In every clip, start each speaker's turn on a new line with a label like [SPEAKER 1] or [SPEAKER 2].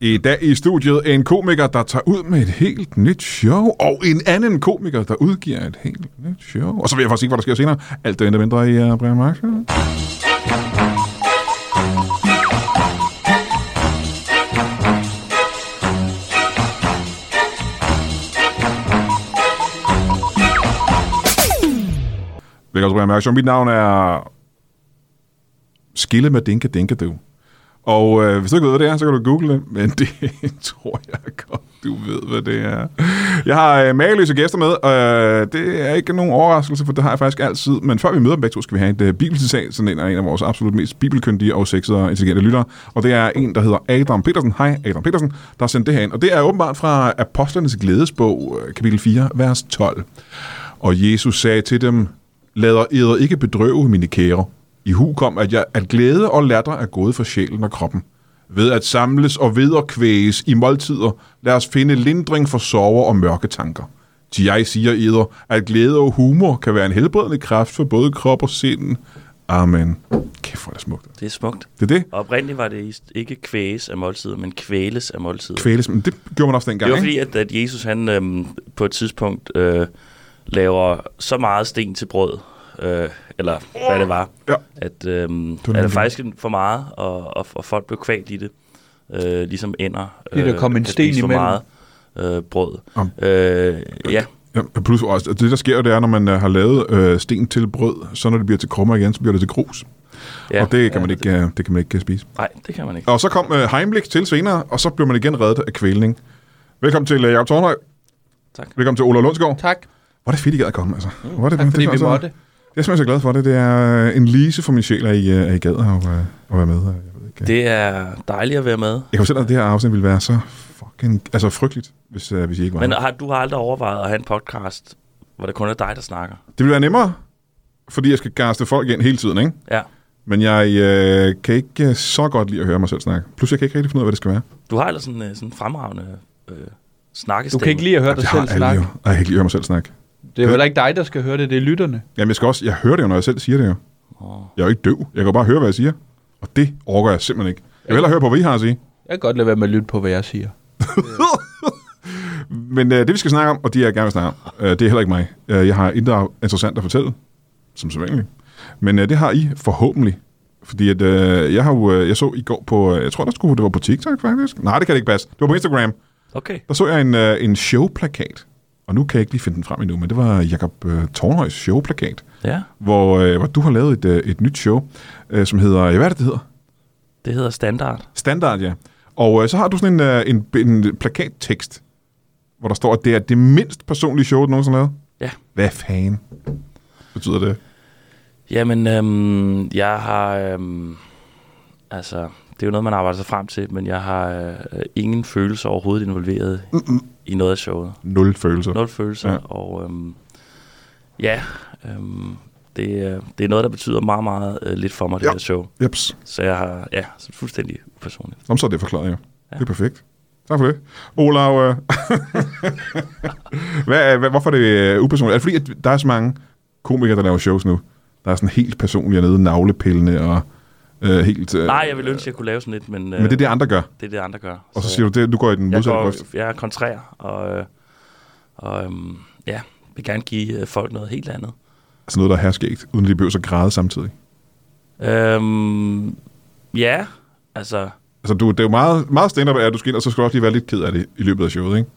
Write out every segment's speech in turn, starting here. [SPEAKER 1] I dag i studiet en komiker, der tager ud med et helt nyt show, og en anden komiker, der udgiver et helt nyt show. Og så vil jeg faktisk ikke, hvad der sker senere. Alt det endte mindre i uh, Brian Mørk Show. Velkommen til Brian Mørk Show. Mit navn er Skille med Dinke Dinke Du. Og øh, hvis du ikke ved, hvad det er, så kan du google det, men det tror jeg godt, du ved, hvad det er. Jeg har øh, mageløse gæster med, og øh, det er ikke nogen overraskelse, for det har jeg faktisk altid. Men før vi møder dem begge to, skal vi have et øh, bibelcitat, sådan en af en af vores absolut mest bibelkyndige og sexede og intelligente lyttere. Og det er en, der hedder Adam Petersen. Hej Adam Petersen, der har sendt det her ind. Og det er åbenbart fra Apostlenes Glædesbog, øh, kapitel 4, vers 12. Og Jesus sagde til dem, lader eder ikke bedrøve, mine kære. I hu kom, at, jeg, at glæde og latter er gået for sjælen og kroppen. Ved at samles og vederkvæges i måltider, lad os finde lindring for sorger og mørke tanker. Til jeg siger eder, at glæde og humor kan være en helbredende kraft for både krop og sind. Amen. Kæft, hvor er det smukt.
[SPEAKER 2] Det er smukt.
[SPEAKER 1] Det er det.
[SPEAKER 2] Og oprindeligt var det is- ikke kvæges af måltider, men kvæles af måltider.
[SPEAKER 1] Kvæles, men det gjorde man også dengang,
[SPEAKER 2] det var
[SPEAKER 1] ikke?
[SPEAKER 2] fordi, at, at Jesus han øhm, på et tidspunkt øh, laver så meget sten til brød, øh, eller hvad det var,
[SPEAKER 1] Ja.
[SPEAKER 2] at, øhm, at der
[SPEAKER 1] nemlig.
[SPEAKER 2] faktisk for meget, og, og, og folk blev kvalt i det. Øh, ligesom ender.
[SPEAKER 3] Fordi der kom
[SPEAKER 2] kan
[SPEAKER 3] en sten
[SPEAKER 2] spise for
[SPEAKER 3] imellem.
[SPEAKER 2] meget øh, brød.
[SPEAKER 1] Om.
[SPEAKER 2] Øh, ja,
[SPEAKER 1] Ja, og plus også, det der sker jo, det er, når man øh, har lavet øh, sten til brød, så når det bliver til krummer igen, så bliver det til grus.
[SPEAKER 2] ja.
[SPEAKER 1] og det kan,
[SPEAKER 2] ja,
[SPEAKER 1] man ikke, øh, det kan man ikke øh, spise.
[SPEAKER 2] Nej, det kan man ikke.
[SPEAKER 1] Og så kom øh, Heimlich til senere, og så blev man igen reddet af kvælning. Velkommen til øh, Jacob Tornhøj.
[SPEAKER 2] Tak.
[SPEAKER 1] Velkommen til Ola Lundsgaard.
[SPEAKER 3] Tak,
[SPEAKER 1] Hvor er det fedt, I gad at komme, altså. Hvor er det,
[SPEAKER 3] Mm. tak fordi
[SPEAKER 1] er
[SPEAKER 3] vi
[SPEAKER 1] altså-
[SPEAKER 3] måtte.
[SPEAKER 1] Jeg er simpelthen så glad for det. Det er øh, en lise for min sjæl, at I, øh, at I gad at, øh, at være med. Jeg, ved ikke, øh.
[SPEAKER 2] Det er dejligt at være med.
[SPEAKER 1] jeg kan fortælle dig, at det her afsnit ville være så fucking altså frygteligt, hvis, øh, hvis I ikke var
[SPEAKER 2] Men
[SPEAKER 1] her.
[SPEAKER 2] har, du har aldrig overvejet at have en podcast, hvor det kun er dig, der snakker?
[SPEAKER 1] Det ville være nemmere, fordi jeg skal gaste folk ind hele tiden, ikke?
[SPEAKER 2] Ja.
[SPEAKER 1] Men jeg øh, kan ikke øh, så godt lide at høre mig selv snakke. Plus, jeg kan ikke rigtig finde ud af, hvad det skal være.
[SPEAKER 2] Du har ellers sådan en sådan en fremragende øh,
[SPEAKER 3] Du
[SPEAKER 2] snakkestemme.
[SPEAKER 3] kan ikke lide at høre dig
[SPEAKER 1] Altså, Jeg
[SPEAKER 3] selv
[SPEAKER 1] har alle
[SPEAKER 3] snakke.
[SPEAKER 1] jo. Ej, Jeg kan ikke lide at høre mig selv snakke.
[SPEAKER 3] Det er jo heller ikke dig, der skal høre det, det er lytterne.
[SPEAKER 1] Jamen, jeg, skal også, jeg hører det jo, når jeg selv siger det jo.
[SPEAKER 2] Åh.
[SPEAKER 1] Jeg er jo ikke døv. Jeg kan jo bare høre, hvad jeg siger. Og det overgår jeg simpelthen ikke. Jeg vil hellere høre på, hvad I har at sige.
[SPEAKER 3] Jeg kan godt lade være med at lytte på, hvad jeg siger.
[SPEAKER 1] Men øh, det, vi skal snakke om, og det, jeg gerne vil snakke om, øh, det er heller ikke mig. Øh, jeg har intet interessant at fortælle, som sædvanligt. Men øh, det har I forhåbentlig. Fordi at, øh, jeg, har jo, øh, jeg så i går på, øh, jeg tror, der skulle, det var på TikTok faktisk. Nej, det kan det ikke passe. Det var på Instagram.
[SPEAKER 2] Okay.
[SPEAKER 1] Der så jeg en, øh, en showplakat. Og nu kan jeg ikke lige finde den frem endnu, men det var Jakob øh, Tornhøjs showplakat.
[SPEAKER 2] Ja,
[SPEAKER 1] hvor, øh, hvor du har lavet et, øh, et nyt show, øh, som hedder, ja, hvad er det, det hedder?
[SPEAKER 2] det hedder standard.
[SPEAKER 1] Standard, ja. Og øh, så har du sådan en, øh, en, en plakattekst, hvor der står, at det er det mindst personlige show, du nogensinde har lavet.
[SPEAKER 2] Ja.
[SPEAKER 1] Hvad fanden betyder det?
[SPEAKER 2] Jamen, øhm, jeg har... Øhm, altså, det er jo noget, man arbejder sig frem til, men jeg har øh, ingen følelser overhovedet involveret Mm-mm. i noget af showet.
[SPEAKER 1] Nul følelser.
[SPEAKER 2] Nul følelser,
[SPEAKER 1] Ja.
[SPEAKER 2] ja. og øhm, ja, øhm, det, øh, det er noget, der betyder meget, meget øh, lidt for mig, det
[SPEAKER 1] Ja.
[SPEAKER 2] ja. her show.
[SPEAKER 1] Jeps.
[SPEAKER 2] Så jeg har, ja, så fuldstændig upersonligt.
[SPEAKER 1] Nå, men så er det forklaret, ja.
[SPEAKER 2] Ja.
[SPEAKER 1] Det er perfekt. Tak for det. Olav, øh, hvad, er- hvad, hvorfor er det øh, upersonligt? Er det fordi, at der er så mange komikere, der laver shows nu? Der er sådan helt personlige nede, navlepillende og øh, helt... Øh,
[SPEAKER 2] Nej, jeg ville ønske, at jeg kunne lave sådan lidt, men, øh,
[SPEAKER 1] Men det er det, andre gør.
[SPEAKER 2] det er det, andre gør.
[SPEAKER 1] Og så siger du, det, du går i den
[SPEAKER 2] jeg,
[SPEAKER 1] modsatte grøft.
[SPEAKER 2] går, jeg er kontrær, og, øh, og øhm, ja, vil gerne give øh, folk noget helt andet.
[SPEAKER 1] Altså noget, der er herskægt, uden at de behøver så græde samtidig.
[SPEAKER 2] Øhm, ja, altså,
[SPEAKER 1] Altså, du, det er jo meget, meget stand-up, at du skal ind, og så skal du også lige være lidt ked af det i løbet af showet, ikke?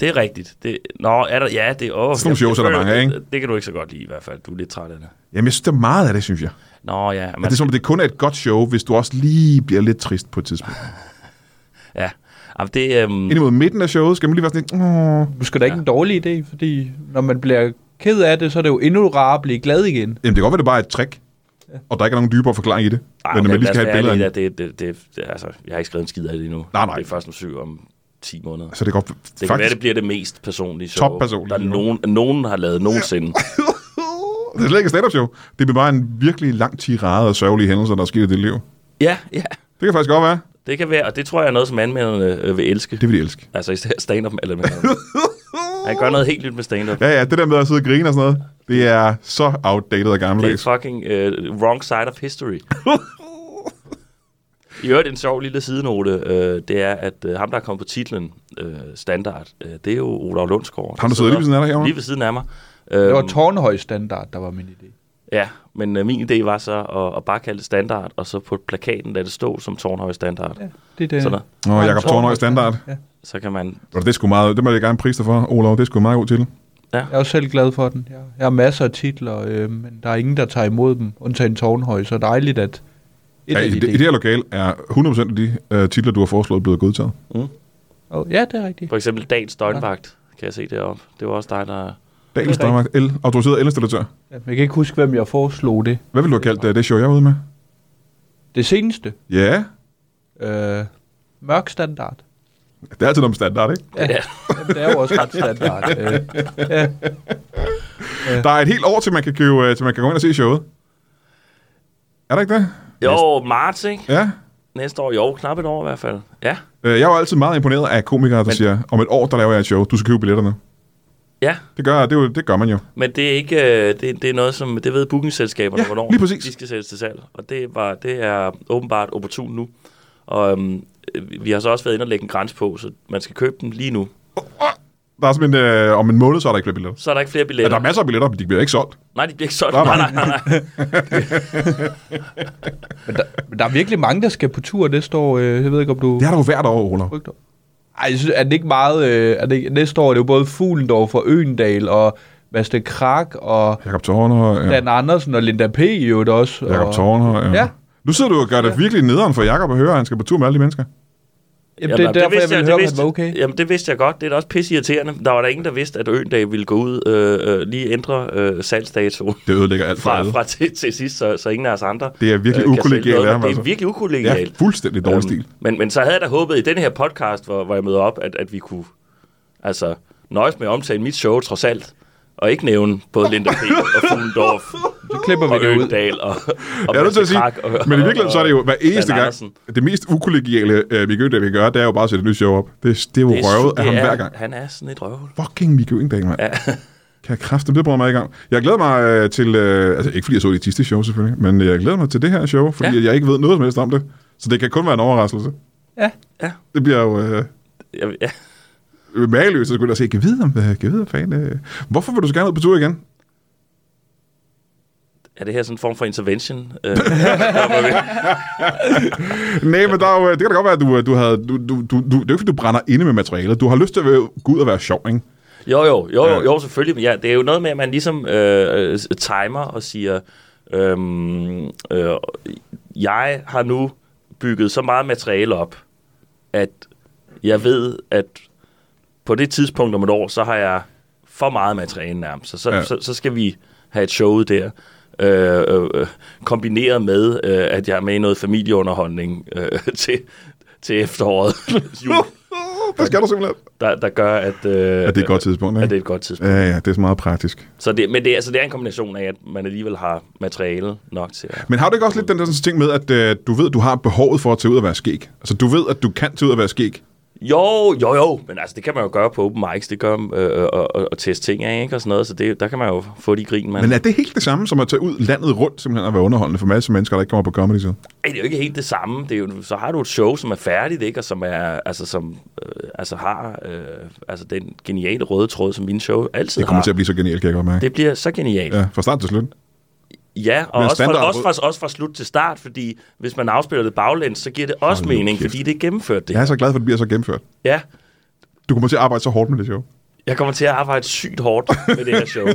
[SPEAKER 2] det er rigtigt. Det, nå, er der, ja, det
[SPEAKER 1] Sådan
[SPEAKER 2] er... Åh,
[SPEAKER 1] nogle
[SPEAKER 2] jeg-
[SPEAKER 1] shows
[SPEAKER 2] jeg
[SPEAKER 1] er der
[SPEAKER 2] føler,
[SPEAKER 1] mange af,
[SPEAKER 2] det, det kan du ikke så godt lide i hvert fald. Du er lidt træt af det.
[SPEAKER 1] Jamen, jeg synes, der er meget af det, synes jeg. Men
[SPEAKER 2] Nå, ja.
[SPEAKER 1] det
[SPEAKER 2] Man,
[SPEAKER 1] er som, om, det kun er et godt show, hvis du også lige bliver lidt trist på et tidspunkt.
[SPEAKER 2] ja. Jamen, det, øhm,
[SPEAKER 1] Ind imod midten af showet, skal man lige være sådan lidt, Åh.
[SPEAKER 3] Du skal da ikke en dårlig idé, fordi når man bliver ked af det, så er det jo endnu rarere at blive glad igen.
[SPEAKER 1] Jamen, det kan godt være, det er bare er et trick, og der ikke er nogen dybere forklaring i det.
[SPEAKER 2] ej,
[SPEAKER 1] men
[SPEAKER 2] okay,
[SPEAKER 1] man lige
[SPEAKER 2] lad os
[SPEAKER 1] skal have et
[SPEAKER 2] være
[SPEAKER 1] billede af
[SPEAKER 2] ærlige,
[SPEAKER 1] det.
[SPEAKER 2] at det, det, det, det, altså, jeg har ikke skrevet en skid af det endnu.
[SPEAKER 1] Nej, nej.
[SPEAKER 2] Det er først om syv om 10 måneder.
[SPEAKER 1] Så det er godt.
[SPEAKER 2] Det kan være, det bliver det mest personlige show,
[SPEAKER 1] Toppersonlige
[SPEAKER 2] der
[SPEAKER 1] show.
[SPEAKER 2] nogen, nogen har lavet nogensinde.
[SPEAKER 1] det er slet ikke et stand-up show. Det bliver bare en virkelig lang tirade af sørgelige hændelser, der er sket i dit liv.
[SPEAKER 2] Ja, ja.
[SPEAKER 1] Det kan faktisk godt være.
[SPEAKER 2] Det kan være, og det tror jeg er noget, som anmelderne øh, vil elske.
[SPEAKER 1] Det vil de elske.
[SPEAKER 2] Altså især stand-up eller Han gør noget helt nyt med stand-up.
[SPEAKER 1] Ja, ja, det der med at sidde og grine og sådan noget, det er så outdated og
[SPEAKER 2] Det er
[SPEAKER 1] gammeldags.
[SPEAKER 2] fucking øh, wrong side of history. I øvrigt en sjov lille sidenote, øh, det er, at øh, ham, der er kommet på titlen øh, standard, øh, det er jo Olav Lundsgaard.
[SPEAKER 1] Ham, der sidder lige ved siden af dig herovre?
[SPEAKER 2] Lige ved siden af mig.
[SPEAKER 3] Det var
[SPEAKER 2] Øhm,
[SPEAKER 3] tårnhøj standard, der var min idé.
[SPEAKER 2] Ja, men øh, min idé var så at, at bare kalde det standard, og så på plakaten lade det stå som Tårnhøj Standard. Ja.
[SPEAKER 3] Ja, det er det.
[SPEAKER 2] Sådan der.
[SPEAKER 1] Nå, Jakob Tornhøj Standard.
[SPEAKER 3] Ja.
[SPEAKER 2] Så kan man...
[SPEAKER 1] Og det er sgu meget, det må jeg gerne prise dig for, Olav. Det er sgu meget god til.
[SPEAKER 3] Jeg er også selv glad for den. Jeg, jeg har masser af titler, øh, men der er ingen, der tager imod dem, undtagen Tårnhøj, så dejligt, at et
[SPEAKER 1] Ja,
[SPEAKER 3] af
[SPEAKER 1] i,
[SPEAKER 3] de
[SPEAKER 1] det, I det her lokal er 100% af de øh, titler, du har foreslået, blevet godtaget.
[SPEAKER 3] Oh, ja, det er rigtigt.
[SPEAKER 2] For eksempel Dagens Døgnvagt, kan jeg se deroppe. Det var også dig, der...
[SPEAKER 1] Dagens
[SPEAKER 3] Det er
[SPEAKER 1] Danmark, el, autoriseret elinstallatør.
[SPEAKER 3] Ja, men Jeg kan ikke huske, hvem jeg foreslog det.
[SPEAKER 1] Hvad vil du have kaldt øh, det show, jeg er ude med?
[SPEAKER 3] Det seneste.
[SPEAKER 1] Ja,
[SPEAKER 3] Øh, mørk standard.
[SPEAKER 1] det er altid noget med standard, ikke?
[SPEAKER 3] Ja,
[SPEAKER 2] Ja.
[SPEAKER 3] Jamen, det er jo også ret standard. Øh,
[SPEAKER 1] Der er et helt år, til man kan, købe, øh, til man kan gå ind og se showet. Er der ikke det?
[SPEAKER 2] Jo, marts, ikke?
[SPEAKER 1] Ja.
[SPEAKER 2] Næste år. Jo, knap et år i hvert fald. Ja,
[SPEAKER 1] Øh, Jeg er jo altid meget imponeret af komikere, der men...
[SPEAKER 2] Men-
[SPEAKER 1] siger, om et år, der laver jeg et show. Du skal købe billetterne.
[SPEAKER 2] ja.
[SPEAKER 1] Det gør, det, er jo, det gør man jo.
[SPEAKER 2] Men det er ikke øh, det, det er noget, som det ved bookingselskaberne,
[SPEAKER 1] Ja,
[SPEAKER 2] hvornår
[SPEAKER 1] lige præcis.
[SPEAKER 2] de skal sættes til salg. Og det, var, det er åbenbart opportun nu. Og øhm, vi har så også været inde og lægge en grænse på, så man skal købe dem lige nu.
[SPEAKER 1] Der er sådan en, øh, om en måned, så er der ikke flere billetter.
[SPEAKER 2] Så er der ikke flere
[SPEAKER 1] Ja,
[SPEAKER 2] billetter.
[SPEAKER 1] der er masser af billetter, men de bliver ikke solgt.
[SPEAKER 2] Nej, de bliver ikke solgt.
[SPEAKER 1] Nej,
[SPEAKER 2] Nej,
[SPEAKER 1] nej.
[SPEAKER 2] nej, nej. nej.
[SPEAKER 3] men, der, men der er virkelig mange, der skal på tur næste år. Øh, jeg ved ikke, om du
[SPEAKER 1] Det er der jo hvert år, Olav.
[SPEAKER 3] frygter. Ej, jeg synes, er det ikke meget... Øh, er det, ikke- næste år er det jo både Fuglendorf og Øendal og Master Krak og
[SPEAKER 1] Jakob Tornhøj. Ja.
[SPEAKER 3] Dan Andersen og Linda P. i øvrigt også.
[SPEAKER 1] Jakob
[SPEAKER 3] og,
[SPEAKER 1] Tornhøj. Ja.
[SPEAKER 3] Ja.
[SPEAKER 1] Nu sidder du og gør det virkelig nederen for Jakob at høre, at han skal på tur med alle de mennesker.
[SPEAKER 3] Jamen, det er derfor, jeg
[SPEAKER 2] vidste
[SPEAKER 3] ville høre, om han
[SPEAKER 2] vidste-
[SPEAKER 3] var okay.
[SPEAKER 2] Jamen, det vidste jeg godt. Det er da også pisse irriterende. Der var der ingen, der vidste, at Øendal ville gå ud øh, øh, lige ændre øh, salgsdatoen
[SPEAKER 1] Det ødelægger alt for
[SPEAKER 2] fra,
[SPEAKER 1] alle.
[SPEAKER 2] fra til, til sidst, så, så ingen af os andre øh,
[SPEAKER 1] Det er virkelig
[SPEAKER 2] kan sælge
[SPEAKER 1] ukollegialt
[SPEAKER 2] noget.
[SPEAKER 1] af ham,
[SPEAKER 2] Det
[SPEAKER 1] altså.
[SPEAKER 2] er virkelig
[SPEAKER 1] Ja,
[SPEAKER 2] ukollegialt. Øhm,
[SPEAKER 1] fuldstændig dårlig stil.
[SPEAKER 2] Men, men så havde jeg da håbet i den her podcast, hvor, hvor jeg møder op, at, at vi kunne altså, nøjes med at omtale mit show trods alt, og ikke nævne både Linda P. og Fuglendorf
[SPEAKER 3] Så klipper
[SPEAKER 2] og
[SPEAKER 3] vi det ud.
[SPEAKER 2] Øgendal og, og
[SPEAKER 1] Jeg er nødt til at sige,
[SPEAKER 2] Krak og,
[SPEAKER 1] men i virkeligheden så er det jo hver eneste
[SPEAKER 2] Dan
[SPEAKER 1] gang,
[SPEAKER 2] Andersen.
[SPEAKER 1] det mest ukollegiale øh, Mikke Øndal kan gøre, det er jo bare at sætte et nyt show op. Det, det er jo
[SPEAKER 2] Det er-
[SPEAKER 1] røvet af
[SPEAKER 2] det
[SPEAKER 1] ham
[SPEAKER 2] er-
[SPEAKER 1] hver gang.
[SPEAKER 2] Han er sådan et røvhul.
[SPEAKER 1] Fucking Mikke Øndal, mand.
[SPEAKER 2] Ja.
[SPEAKER 1] Kan jeg kræfte, det bruger mig ikke om. Jeg glæder mig øh, til, øh, altså ikke fordi jeg så det sidste show selvfølgelig, men øh, jeg glæder mig til det her show, fordi
[SPEAKER 2] Ja.
[SPEAKER 1] ja. jeg ikke ved noget som helst om det. Så det kan kun være en overraskelse.
[SPEAKER 3] Ja.
[SPEAKER 2] Ja.
[SPEAKER 1] Det bliver jo øh,
[SPEAKER 2] Jeg, ja.
[SPEAKER 1] mageløst at skulle se, kan jeg vide om, øh, kan jeg vide, om fanden, øh, hvorfor vil du så gerne ud på tur igen?
[SPEAKER 2] Er det her sådan en form for intervention? Øh,
[SPEAKER 1] Nej, men der er jo, øh, det kan da godt være, at du, øh, du havde, du, du, du, du, det er jo ikke, fordi du brænder inde med materialet. Du har lyst til at være- gå ud og være sjov, ikke?
[SPEAKER 2] jo, jo, jo,
[SPEAKER 1] Ja.
[SPEAKER 2] jo, jo, selvfølgelig. Men ja, det er jo noget med, at man ligesom øh, øh, timer og siger, øhm, øh, jeg har nu bygget så meget materiale op, at jeg ved, at på det tidspunkt om et år, så har jeg for meget materiale nærmest. Så, så,
[SPEAKER 1] Ja.
[SPEAKER 2] ja. så, så skal vi have et show ud der. Øh, øh, øh, kombineret med, øh, at jeg er med i noget familieunderholdning øh, til, til efteråret, jul,
[SPEAKER 1] Det skal du simpelthen.
[SPEAKER 2] der, der gør, at, øh,
[SPEAKER 1] Ja, det er et godt tidspunkt, ikke?
[SPEAKER 2] at det er et godt tidspunkt.
[SPEAKER 1] Ja, ja, det er så meget praktisk.
[SPEAKER 2] Så det, men det, er- altså, det er en kombination af, at man alligevel har materiale nok til at...
[SPEAKER 1] Men har du ikke også lidt den der sådan ting med, at øh, du ved, du har behovet for at tage ud og være skæg? Altså, du ved, at du kan tage ud og være skæg.
[SPEAKER 2] Jo, jo, jo, men altså, det kan man jo gøre på open mics, det gør øh, og, og, og teste ting af, ikke, og sådan noget, så det, der kan man jo få de grin, man...
[SPEAKER 1] Men er det helt det samme som at tage ud landet rundt simpelthen og være underholdende for masser af mennesker, der ikke kommer på comedy så?
[SPEAKER 2] Ej, det er jo ikke helt det samme. Det er jo, så har du et show, som er færdigt, ikke? og som, er, altså, som øh, altså, har øh, altså, den geniale røde tråd, som min show altid
[SPEAKER 1] Det kommer
[SPEAKER 2] har.
[SPEAKER 1] til at blive så genialt, kan jeg godt mærke.
[SPEAKER 2] Det bliver så genialt. Ja,
[SPEAKER 1] Ja, fra start til slut.
[SPEAKER 2] ja og
[SPEAKER 1] bliver
[SPEAKER 2] også
[SPEAKER 1] standard-
[SPEAKER 2] fra, også, fra, også fra slut til start, fordi hvis man afspiller det baglæns, så giver det også
[SPEAKER 1] Hold nu
[SPEAKER 2] mening,
[SPEAKER 1] kæft.
[SPEAKER 2] fordi det er gennemført det.
[SPEAKER 1] Jeg er så glad for, at det bliver så gennemført.
[SPEAKER 2] ja.
[SPEAKER 1] Du kommer til at arbejde så hårdt med det show.
[SPEAKER 2] Jeg kommer til at arbejde sygt hårdt med det her show.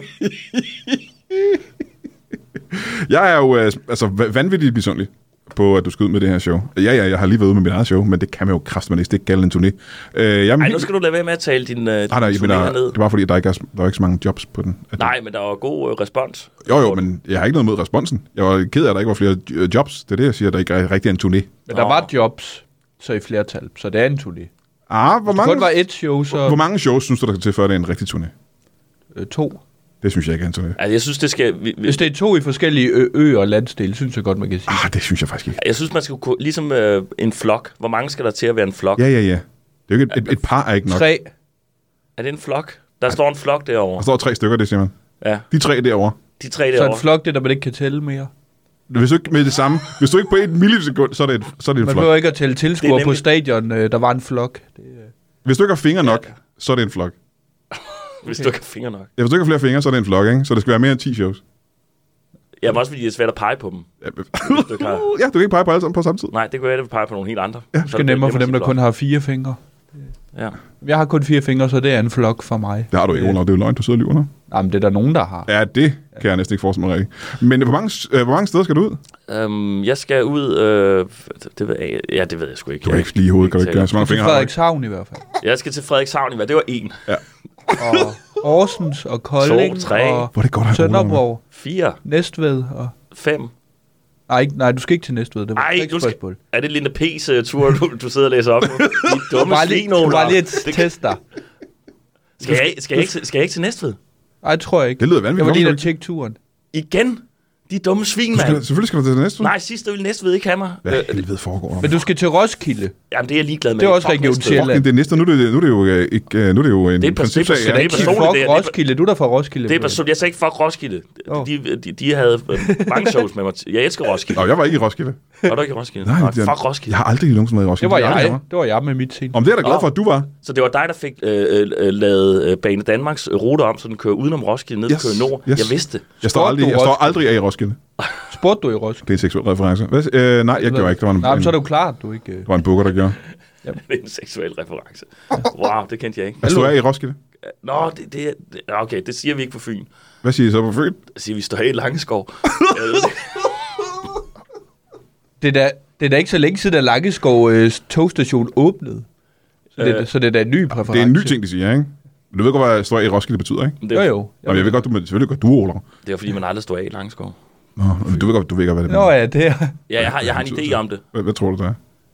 [SPEAKER 1] Jeg er jo øh, altså, va- vanvittigt misundelig på, at du skal ud med det her show. Ja, ja, jeg har lige været ude med mit eget show, men det kan man jo kraftedeme ikke. Det er galt en turné. Øh, jeg, Ah,
[SPEAKER 2] Ej, nu skal du lade være med at tale din, øh, din
[SPEAKER 1] Nej, nej, jeg mener,
[SPEAKER 2] turné ned.
[SPEAKER 1] det er bare fordi, at der ikke er, s- der er ikke så mange jobs på den. At-
[SPEAKER 2] Nej, men der var god øh, respons.
[SPEAKER 1] Jo, jo, men jeg har ikke noget mod responsen. Jeg var ked af, at der ikke var flere øh, jobs. Det er det, jeg siger, at der ikke er rigtig er en turné.
[SPEAKER 3] Men der
[SPEAKER 2] Nå.
[SPEAKER 3] var jobs, så i flertal, så det er en turné.
[SPEAKER 1] Ah, hvor
[SPEAKER 3] Mange...
[SPEAKER 1] mange,
[SPEAKER 3] Kun var et show, så
[SPEAKER 1] hvor mange shows synes du, der skal til, før det er en rigtig turné?
[SPEAKER 3] øh, to.
[SPEAKER 1] Det synes jeg ikke er en turné.
[SPEAKER 2] Altså, jeg synes, det skal... Vi, vi,
[SPEAKER 3] Hvis det er to i forskellige ø- øer og landsdele, synes jeg godt, man kan sige.
[SPEAKER 1] Ah, det synes jeg faktisk ikke.
[SPEAKER 2] jeg synes, man skal kunne... Ligesom øh, en flok. Hvor mange skal der til at være en flok?
[SPEAKER 1] Ja, ja, ja. Det er jo ikke et, et, et par er ikke nok.
[SPEAKER 3] Tre.
[SPEAKER 2] Er det en flok? Der står en flok derovre.
[SPEAKER 1] Der står tre stykker, det siger man.
[SPEAKER 2] Ja,
[SPEAKER 1] De tre derovre.
[SPEAKER 2] de tre
[SPEAKER 3] Så en
[SPEAKER 2] derovre.
[SPEAKER 3] flok, det er, der man ikke kan tælle mere.
[SPEAKER 1] Hvis du ikke med det samme, hvis du ikke på et millisekund, så er det, et, så er det en
[SPEAKER 3] Man
[SPEAKER 1] flok.
[SPEAKER 3] behøver ikke at tælle tilskuere
[SPEAKER 2] Det er
[SPEAKER 3] nemlig... på
[SPEAKER 2] nemlig-
[SPEAKER 3] stadion, øh, der var en flok. Det, øh,
[SPEAKER 1] Hvis du ikke har fingre nok, så er det en flok.
[SPEAKER 2] hvis du ikke har fingre nok.
[SPEAKER 1] Ja, hvis du ikke har flere fingre, så er det en flok, ikke? Så det skal være mere end 10 shows.
[SPEAKER 2] Ja, men også fordi det er svært at pege på dem.
[SPEAKER 1] Ja, men-
[SPEAKER 2] du ikke har-
[SPEAKER 1] ja, du kan ikke pege på alle sammen på samme tid.
[SPEAKER 2] Nej, det kunne jeg da pege på nogle helt andre.
[SPEAKER 1] Ja,
[SPEAKER 2] Så
[SPEAKER 3] det er nemmere for dem, der kun har fire fingre.
[SPEAKER 2] Ja.
[SPEAKER 3] Jeg har kun fire fingre, så det er en flok for mig.
[SPEAKER 1] Det har du ikke, Olav. Det er jo løgn, du sidder og lyver nu.
[SPEAKER 3] Nej, men det er der nogen, der har.
[SPEAKER 1] Ja, det kan jeg næsten ikke forestille mig rigtigt. Men øh, hvor mange, øh, hvor mange steder skal du ud?
[SPEAKER 2] Øhm, jeg skal ud... Øh, det, det ved jeg, ja, det ved jeg sgu ikke.
[SPEAKER 1] Du kan ikke lige i hovedet, kan du ikke gøre. Så mange
[SPEAKER 3] Til
[SPEAKER 1] fingre har du ikke.
[SPEAKER 3] Frederikshavn i hvert fald.
[SPEAKER 2] Jeg skal til Frederikshavn i hvad? Det var en.
[SPEAKER 3] Og Horsens og Kolding
[SPEAKER 2] tre.
[SPEAKER 3] og
[SPEAKER 1] Hvor er det godt, at have hovedet, mand.
[SPEAKER 3] Sønderborg,
[SPEAKER 2] Fire.
[SPEAKER 3] Næstved og...
[SPEAKER 2] Fem.
[SPEAKER 3] Nej, ikke, nej, du skal ikke til Næstved. Det var
[SPEAKER 2] Ej,
[SPEAKER 3] Ej,
[SPEAKER 2] nu
[SPEAKER 3] ikke
[SPEAKER 2] skal-
[SPEAKER 3] spørgsmål.
[SPEAKER 2] Er det Linda P's øh, tur, du, du sidder og læser op nu? De dumme
[SPEAKER 3] Bare lige,
[SPEAKER 2] svin, Olav.
[SPEAKER 3] bare lige et
[SPEAKER 2] Det-
[SPEAKER 3] test der.
[SPEAKER 2] Skal jeg, skal, jeg ikke, til- skal jeg ikke til Næstved?
[SPEAKER 3] Ej, tror jeg ikke.
[SPEAKER 1] Det lyder
[SPEAKER 3] Jeg
[SPEAKER 1] vanvittigt.
[SPEAKER 3] var lige
[SPEAKER 1] Hvorfor
[SPEAKER 3] der tjekke turen.
[SPEAKER 2] Igen? De dumme svin,
[SPEAKER 1] skal du
[SPEAKER 2] mand.
[SPEAKER 1] ikke- Selvfølgelig skal du til det næste. uge.
[SPEAKER 2] Nej, sidste ville Næstved ikke have mig.
[SPEAKER 1] Hvad
[SPEAKER 2] Øh,
[SPEAKER 1] i helvede foregår der?
[SPEAKER 3] Men du skal til Roskilde.
[SPEAKER 2] jamen, det er jeg ligeglad med.
[SPEAKER 3] Det er også
[SPEAKER 2] Fuck
[SPEAKER 3] Region
[SPEAKER 2] Næstved.
[SPEAKER 3] Sjælland.
[SPEAKER 1] Fucking det næste, nu er det, nu er det jo øh, ikke, øh, nu er det jo en
[SPEAKER 2] Det er pers-
[SPEAKER 1] principsag.
[SPEAKER 2] det er
[SPEAKER 1] ja.
[SPEAKER 2] pers-
[SPEAKER 3] Ikke
[SPEAKER 2] personligt,
[SPEAKER 3] fuck
[SPEAKER 2] det er- det er-
[SPEAKER 3] Roskilde. Du er der fra Roskilde.
[SPEAKER 2] Det er
[SPEAKER 3] Brian.
[SPEAKER 2] personligt. Jeg sagde ikke, fuck Roskilde.
[SPEAKER 3] Åh.
[SPEAKER 2] De, de, de havde øh, mange shows med mig. Jeg elsker Roskilde.
[SPEAKER 1] Nå, jeg var ikke i Roskilde.
[SPEAKER 2] Var du ikke i Roskilde? Nej,
[SPEAKER 1] det er-
[SPEAKER 2] fuck Roskilde.
[SPEAKER 1] Jeg har aldrig nogensinde været i Roskilde.
[SPEAKER 3] Det var
[SPEAKER 1] er aldrig
[SPEAKER 3] jeg.
[SPEAKER 1] mig.
[SPEAKER 3] Det var jeg med mit scene.
[SPEAKER 1] Om det er jeg da glad
[SPEAKER 2] Nå.
[SPEAKER 1] for, at du var.
[SPEAKER 2] Så det var dig, der fik øh, øh, øh, lavet øh, Bane Danmarks rute om, så den kører udenom Roskilde, ned yes,
[SPEAKER 1] Yes,
[SPEAKER 2] kører nord.
[SPEAKER 1] yes.
[SPEAKER 2] Jeg vidste det.
[SPEAKER 1] Jeg står
[SPEAKER 3] Spurgte
[SPEAKER 1] aldrig,
[SPEAKER 3] du
[SPEAKER 1] jeg står
[SPEAKER 3] Roskilde?
[SPEAKER 1] aldrig af i Roskilde.
[SPEAKER 3] Spurgte du i Roskilde?
[SPEAKER 1] Det er en seksuel reference. Hvad, øh, nej, jeg gjorde ikke. Det var en,
[SPEAKER 3] Nej, men så er
[SPEAKER 1] en,
[SPEAKER 3] det jo klart, du ikke... øh,
[SPEAKER 1] det var en booker, der gjorde.
[SPEAKER 2] Det er en seksuel reference. Wow, det kendte jeg ikke.
[SPEAKER 1] Hvad står af i Roskilde?
[SPEAKER 2] Nå, det, det, er- det, okay, det siger vi ikke på Fyn.
[SPEAKER 1] Hvad siger I så på Fyn?
[SPEAKER 2] Det siger vi står i Langeskov. Jeg ved det.
[SPEAKER 3] Det er da, det er da ikke så længe siden, at Langeskov øh, togstation åbnede. Så det,
[SPEAKER 2] Øh,
[SPEAKER 3] så det er da en ny præference.
[SPEAKER 1] Det er en ny ting, de siger, ikke? Du ved godt, hvad står af i Roskilde betyder, ikke?
[SPEAKER 2] Men
[SPEAKER 3] Jo,
[SPEAKER 2] det, er,
[SPEAKER 3] jo.
[SPEAKER 1] Nå, men jeg ved godt, du, men selvfølgelig godt, du er Olav.
[SPEAKER 2] det er fordi, man aldrig står af i Langeskov.
[SPEAKER 1] Nå, men du ved godt, du ved godt, hvad det
[SPEAKER 3] Nå
[SPEAKER 1] er.
[SPEAKER 3] ja, det er...
[SPEAKER 2] Ja, jeg har, jeg har en idé om det.
[SPEAKER 1] Hvad, hvad, tror du, det er?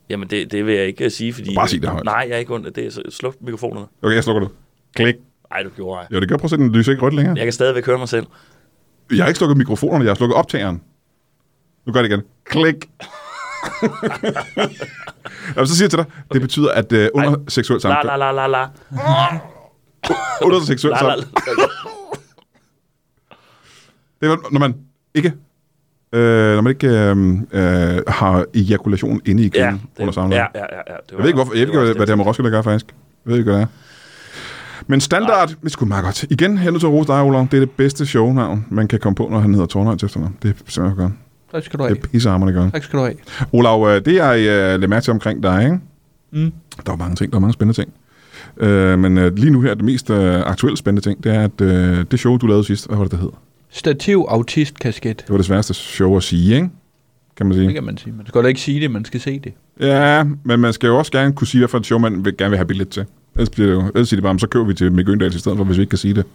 [SPEAKER 2] Jamen, det, det vil jeg ikke øh, sige, fordi...
[SPEAKER 1] Bare sig det højt.
[SPEAKER 2] Nej, jeg er ikke under det. er Så sluk mikrofonerne.
[SPEAKER 1] Okay, jeg slukker det. Klik.
[SPEAKER 2] Nej, du gjorde ej.
[SPEAKER 1] Jo, det gør. Prøv at sætte den lyser ikke rødt længere.
[SPEAKER 2] Jeg kan stadigvæk høre mig selv.
[SPEAKER 1] Jeg har ikke slukket mikrofonerne, jeg har slukket optageren. Nu gør jeg det igen. Klik. Jamen, så siger jeg til dig, det betyder, at øh, under
[SPEAKER 2] Ej.
[SPEAKER 1] seksuel
[SPEAKER 2] La,
[SPEAKER 1] samtale,
[SPEAKER 2] la, la, la, la.
[SPEAKER 1] under seksuel
[SPEAKER 2] La, la,
[SPEAKER 1] samtale,
[SPEAKER 2] la.
[SPEAKER 1] det er, vel, når man ikke, øh, når man ikke øh, øh, har ejakulation inde i kvinden
[SPEAKER 2] Ja,
[SPEAKER 1] ja, under samleje.
[SPEAKER 2] ja,
[SPEAKER 1] Ja,
[SPEAKER 2] ja, ja, ja. Det var,
[SPEAKER 1] jeg ved ikke, hvorfor, jeg ved ikke,
[SPEAKER 2] var
[SPEAKER 1] hvad,
[SPEAKER 2] også
[SPEAKER 1] hvad det har med Roskilde gør, faktisk. Jeg ved ikke, hvad det er. Men standard, det er sgu meget godt. Igen, her nu til at rose dig, Olav. Det er det bedste shownavn, man kan komme på, når han hedder Tornhøj til efternavn. Det er simpelthen godt.
[SPEAKER 3] Tak skal du have.
[SPEAKER 1] Det er pissehammerende godt.
[SPEAKER 3] Tak skal du have.
[SPEAKER 1] Olav, øh, det jeg øh, lagde mærke til omkring dig, ikke?
[SPEAKER 3] Mm.
[SPEAKER 1] der var mange ting, der var mange spændende ting. Øh, men øh, lige nu her, det mest øh, aktuelle spændende ting, det er, at øh, det show, du lavede sidst, hvad var det, det hed?
[SPEAKER 3] Stativ autist kasket.
[SPEAKER 1] Det var det sværeste show at sige, ikke? Kan man
[SPEAKER 3] Det
[SPEAKER 1] sige.
[SPEAKER 3] kan man sige. Man skal da ikke sige det, man skal se det.
[SPEAKER 1] Ja, men man skal jo også gerne kunne sige, hvad for et show, man vil, gerne vil have billet til. Ellers, bliver det jo, ellers siger de bare, "Men så køber vi til Mick Øndal i stedet for, hvis vi ikke kan sige det.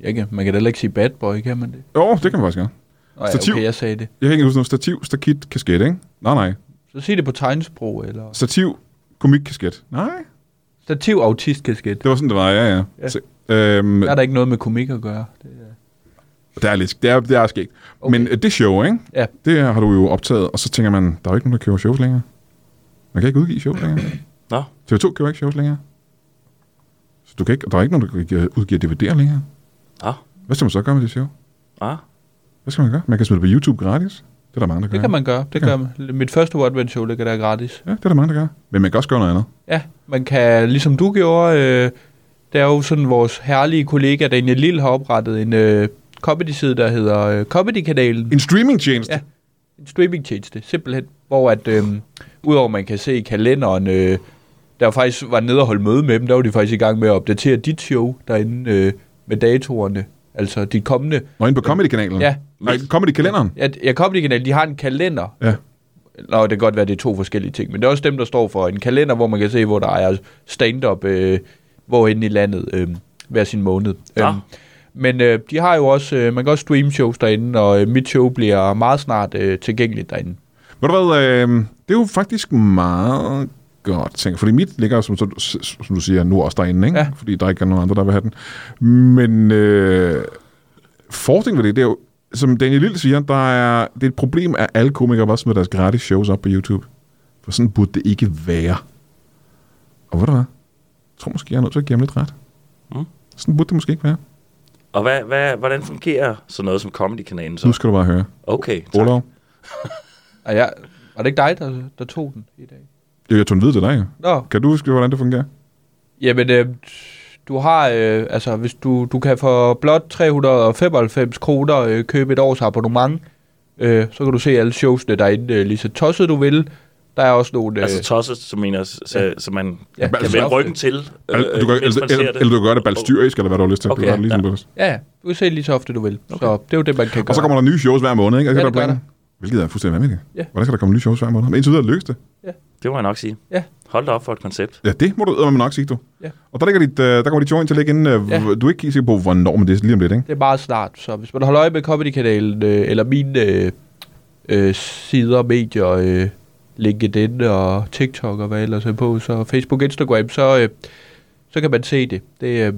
[SPEAKER 3] Jeg kan, man kan da heller ikke sige bad boy, kan man det?
[SPEAKER 1] Jo, det kan man faktisk gøre.
[SPEAKER 3] Nå, ja,
[SPEAKER 1] Stativ.
[SPEAKER 3] okay, jeg sagde det.
[SPEAKER 1] Jeg kan ikke huske noget stativ, stakit, kasket, ikke? Nej, nej.
[SPEAKER 3] Så sig det på tegnsprog, eller...
[SPEAKER 1] Stativ, komik, kasket. Nej,
[SPEAKER 3] Stativ autist kasket.
[SPEAKER 1] det var sådan, det var, ja, ja.
[SPEAKER 3] Ja.
[SPEAKER 1] Så, øhm,
[SPEAKER 3] Der er der ikke noget med komik at gøre. Det er...
[SPEAKER 1] Det er lidt, det er, det er skægt. Okay.
[SPEAKER 3] Okay.
[SPEAKER 1] Men øh, det show, ikke?
[SPEAKER 3] Ja.
[SPEAKER 1] Det har du jo optaget, og så tænker man, der er jo ikke nogen, der køber shows længere. Man kan ikke udgive shows længere.
[SPEAKER 2] Nå.
[SPEAKER 1] TV2 køber ikke shows længere. Så du kan ikke, og der er ikke nogen, der giver- udgiver DVD'er længere.
[SPEAKER 2] Nå.
[SPEAKER 1] Hvad skal man så gøre med det show?
[SPEAKER 2] Ah,
[SPEAKER 1] Hvad skal man gøre? Man kan smide det på YouTube gratis. Det er der mange, der gør.
[SPEAKER 3] Det kan man gøre. Det
[SPEAKER 1] Ja.
[SPEAKER 3] gør man. Mit første One Man Show ligger der gratis.
[SPEAKER 1] Ja, det er der mange, der gør. Men man kan også gøre noget andet.
[SPEAKER 3] Ja, man kan, ligesom du gjorde, øh, der er jo sådan vores herlige kollega Daniel Lille har oprettet en øh, comedy-side, der hedder øh, Comedy-kanalen.
[SPEAKER 1] En streamingtjeneste. Ja.
[SPEAKER 3] Ja. En streaming-tjeneste, simpelthen. Hvor at, øh, udover man kan se i kalenderen, øh, der faktisk var nede og holde møde med dem, der var de faktisk i gang med at opdatere dit show derinde øh, med datorerne. Altså de kommende.
[SPEAKER 1] Nå, inde på Comedy-kanalen.
[SPEAKER 3] Ja,
[SPEAKER 1] Nej, Comedy-kalenderen.
[SPEAKER 3] ja, ja Comedy-kanalen, de har en kalender,
[SPEAKER 1] Ja.
[SPEAKER 3] Nå, det kan godt være, det er to forskellige ting, men det er også dem, der står for en kalender, hvor man kan se, hvor der er stand-up, øh, hvorhenne i landet, øh, hver sin måned.
[SPEAKER 2] Ja.
[SPEAKER 3] Øhm, men øh, de har jo også, øh, man kan også streame shows derinde, og øh, mit show bliver meget snart øh, tilgængeligt derinde.
[SPEAKER 1] Ved du hvad, øh, det er jo faktisk meget godt ting, fordi mit ligger, som, som, som du siger, nu også derinde, ikke?
[SPEAKER 3] Ja.
[SPEAKER 1] fordi der ikke er nogen andre, der vil have den. Men øh, fordelen ved det, det er jo, som Daniel Lille siger, der er, det er et problem, at alle komikere bare smider deres gratis shows op på YouTube. For sådan burde det ikke være. Og ved du hvad? Jeg tror måske, jeg er nødt til at give ham lidt ret.
[SPEAKER 2] Mm.
[SPEAKER 1] Sådan burde det måske ikke være.
[SPEAKER 2] Og hvad, hvad, hvordan fungerer sådan noget som Comedy-kanalen
[SPEAKER 1] Nu
[SPEAKER 2] så?
[SPEAKER 1] skal du bare høre.
[SPEAKER 2] Okay, tak.
[SPEAKER 1] Olav,
[SPEAKER 3] Og jeg, var det ikke dig, der, der tog den i dag?
[SPEAKER 1] jeg tog en vid til dig. jo.
[SPEAKER 3] Nå,
[SPEAKER 1] Kan du huske, hvordan det fungerer?
[SPEAKER 3] jamen, øh, du har, øh, altså, hvis du, du kan for blot 395 kroner øh, købe et års abonnement, øh, så kan du se alle showsene derinde, øh, lige så tosset du vil. Der er også nogle... Øh,
[SPEAKER 2] Altså tosset, som mener, så, ja. så man
[SPEAKER 3] Ja,
[SPEAKER 2] ja, kan
[SPEAKER 1] altså-
[SPEAKER 2] vende ryggen til, øh,
[SPEAKER 1] Al- du kan, altså-
[SPEAKER 2] mens
[SPEAKER 1] eller,
[SPEAKER 2] man ser
[SPEAKER 1] eller,
[SPEAKER 2] det.
[SPEAKER 1] eller, du kan gøre det balstyrisk, eller hvad du har lyst til.
[SPEAKER 2] Okay,
[SPEAKER 1] du kan gøre det ligesom
[SPEAKER 2] ja.
[SPEAKER 1] du har lyst.
[SPEAKER 3] Ja, ja. du kan se lige så ofte du vil. Okay. Så det er jo det, man kan gøre.
[SPEAKER 1] Og så kommer der nye shows hver måned, ikke? Er det
[SPEAKER 3] Ja,
[SPEAKER 1] der
[SPEAKER 3] det gør
[SPEAKER 1] planer? Hvilket er fuldstændig vanvittigt.
[SPEAKER 3] Ja.
[SPEAKER 1] Hvordan skal der komme nye shows hver måned? Men indtil videre lykkes det.
[SPEAKER 2] Det må jeg nok sige.
[SPEAKER 3] Ja.
[SPEAKER 2] Hold da op for et koncept.
[SPEAKER 1] Ja, det må du eddermame nok sige, du.
[SPEAKER 3] Ja.
[SPEAKER 1] Og der, ligger dit, øh, der kommer dit show ind til at ligge inden. øh,
[SPEAKER 3] Ja.
[SPEAKER 1] hvor- Du er ikke helt sikker på, hvornår, men det er lige om lidt, ikke?
[SPEAKER 3] Det er meget snart. Så hvis man holder øje med Comedy-kanalen, øh, eller mine øh, øh, sider, medier, øh, LinkedIn og TikTok og hvad ellers er på, så Facebook Instagram, så, øh, så kan man se det. Det, øh, det er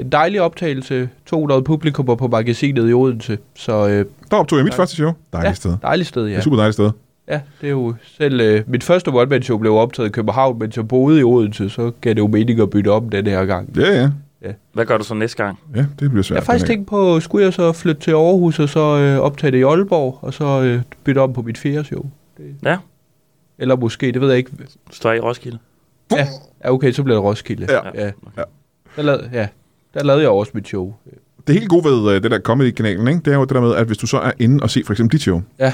[SPEAKER 3] en dejlig optagelse. 200 publikummer på magasinet i Odense. Så øh,
[SPEAKER 1] Der optog jeg mit første show. Dejligt
[SPEAKER 3] ja,
[SPEAKER 1] sted.
[SPEAKER 3] dejligt sted,
[SPEAKER 1] Det
[SPEAKER 3] ja.
[SPEAKER 1] er et super dejligt sted.
[SPEAKER 3] Ja, det er jo selv... Øh, mit første one-man-show blev optaget i København, mens jeg boede i Odense, så gav det jo mening at bytte om den her gang.
[SPEAKER 1] Ja, ja.
[SPEAKER 2] Hvad gør du så næste gang?
[SPEAKER 1] Ja, det bliver svært.
[SPEAKER 3] Jeg har faktisk
[SPEAKER 1] den her.
[SPEAKER 3] tænkt på, skulle jeg så flytte til Aarhus og så øh, optage det i Aalborg, og så øh, bytte om på mit fjerde show?
[SPEAKER 2] Ja,
[SPEAKER 3] Eller måske, det ved jeg ikke.
[SPEAKER 2] står jeg i Roskilde?
[SPEAKER 3] Ja, ja okay, så bliver det Roskilde.
[SPEAKER 1] Ja.
[SPEAKER 3] ja.
[SPEAKER 2] Okay.
[SPEAKER 3] Der, lavede, ja. der lavede jeg også mit show.
[SPEAKER 1] Det helt gode ved øh, det der comedy-kanalen, ikke? det er jo det der med, at hvis du så er inde og se for eksempel dit show,
[SPEAKER 3] Ja.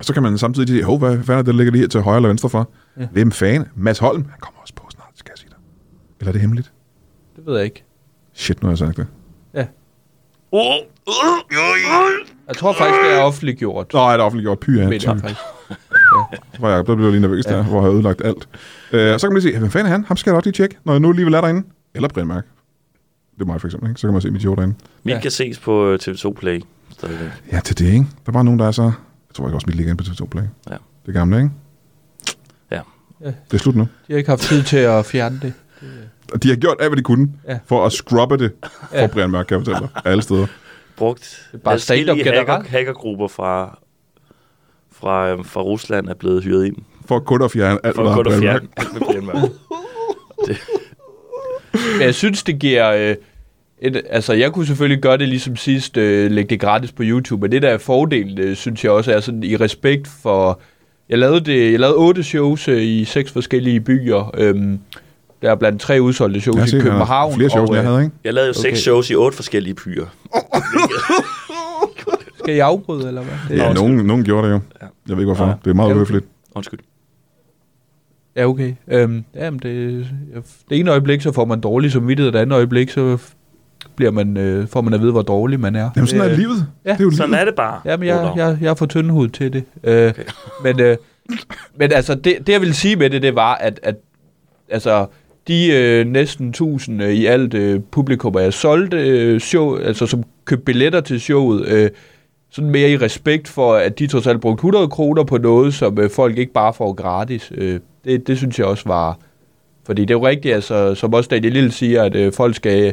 [SPEAKER 1] så kan man samtidig sige, hov, hvad fanden er det, der ligger lige her til højre eller venstre for? Ja.
[SPEAKER 3] Ja.
[SPEAKER 1] Hvem fan? Mads Holm, han kommer også på snart, skal jeg sige dig. Eller er det hemmeligt?
[SPEAKER 3] Det ved jeg ikke.
[SPEAKER 1] Shit, nu har jeg sagt det.
[SPEAKER 2] Oh, uh,
[SPEAKER 3] Jeg tror faktisk, det er offentliggjort.
[SPEAKER 1] Nå, er det offentliggjort pyre?
[SPEAKER 3] mener jeg
[SPEAKER 1] Ja,
[SPEAKER 3] faktisk.
[SPEAKER 1] hvor jeg der blev jeg lige nervøs ja. der, hvor jeg havde ødelagt alt. Øh, og så kan man lige se, hvem fanden er han? Ham skal jeg nok lige tjekke, når jeg nu alligevel er derinde. Eller Brian Mærk. Det er mig for eksempel, ikke? Så kan man se mit show derinde.
[SPEAKER 2] Mit
[SPEAKER 3] Ja.
[SPEAKER 2] kan ses på øh, TV2 Play. Stadigvæk.
[SPEAKER 1] Ja, til det, ikke? Der var nogen, der er så... Jeg tror ikke også, mit ligger inde på TV2 Play.
[SPEAKER 2] Ja.
[SPEAKER 1] Det gamle, ikke?
[SPEAKER 2] Ja.
[SPEAKER 3] Ja.
[SPEAKER 1] Det er slut nu.
[SPEAKER 3] De har ikke haft tid til at fjerne det.
[SPEAKER 1] Og de har gjort alt, hvad de kunne, ja.
[SPEAKER 3] Ja.
[SPEAKER 1] for at scrubbe det for ja.
[SPEAKER 3] Ja.
[SPEAKER 1] Brian Mørk, kan jeg fortælle dig. Alle steder.
[SPEAKER 2] Brugt
[SPEAKER 3] er bare stand-up
[SPEAKER 2] adskillige hacker,
[SPEAKER 3] generelt.
[SPEAKER 2] hackergrupper fra, fra, øh, fra Rusland er blevet hyret ind.
[SPEAKER 1] For kun at fjerne alt, hvad
[SPEAKER 2] For kun
[SPEAKER 1] der
[SPEAKER 2] at
[SPEAKER 1] er
[SPEAKER 2] fjerne
[SPEAKER 1] fjerne.
[SPEAKER 2] alt med Brian Mørk.
[SPEAKER 3] Men jeg synes, det giver... Øh, et, altså, jeg kunne selvfølgelig gøre det ligesom sidst, øh, lægge det gratis på YouTube, men det der er fordelen, øh, synes jeg også er sådan i respekt for... Jeg lavede, det, jeg lavede otte shows øh, i seks forskellige byer. Øhm, der er blandt tre udsolgte shows i København.
[SPEAKER 1] flere shows, end
[SPEAKER 3] og, øh,
[SPEAKER 1] jeg havde, ikke?
[SPEAKER 2] Jeg lavede jo seks
[SPEAKER 3] Okay.
[SPEAKER 2] shows i otte forskellige byer.
[SPEAKER 3] Skal jeg afbryde, eller hvad? Det,
[SPEAKER 1] Ja, nogen, nogen gjorde det jo.
[SPEAKER 2] Ja.
[SPEAKER 1] Jeg ved ikke, hvorfor.
[SPEAKER 2] Ja.
[SPEAKER 1] Det er meget
[SPEAKER 3] Ja.
[SPEAKER 1] uhøfligt.
[SPEAKER 2] Undskyld.
[SPEAKER 3] Ja, okay. Øhm, jamen, det, det ene øjeblik, så får man dårlig samvittighed, og det andet øjeblik, så bliver man, øh, får man at vide, hvor dårlig man er.
[SPEAKER 1] Jamen, sådan
[SPEAKER 3] Øh,
[SPEAKER 1] er livet.
[SPEAKER 3] ja,
[SPEAKER 1] det er jo
[SPEAKER 2] Sådan
[SPEAKER 1] livet.
[SPEAKER 2] er det bare.
[SPEAKER 3] Jamen, jeg,
[SPEAKER 2] Olav.
[SPEAKER 3] jeg, jeg er for tyndhud til det. Øh, okay. Men, øh, men altså, det, det jeg ville sige med det, det var, at, at altså, de øh, næsten tusind øh, i alt øh, publikummer, jeg solgte øh, show, altså som købte billetter til showet, øh, sådan mere i respekt for, at de trods alt brugte 100 kroner på noget, som øh, folk ikke bare får gratis. Øh, det, det synes jeg også var... Fordi det er jo rigtigt, altså, som også Daniel Lille siger, at øh, folk skal øh,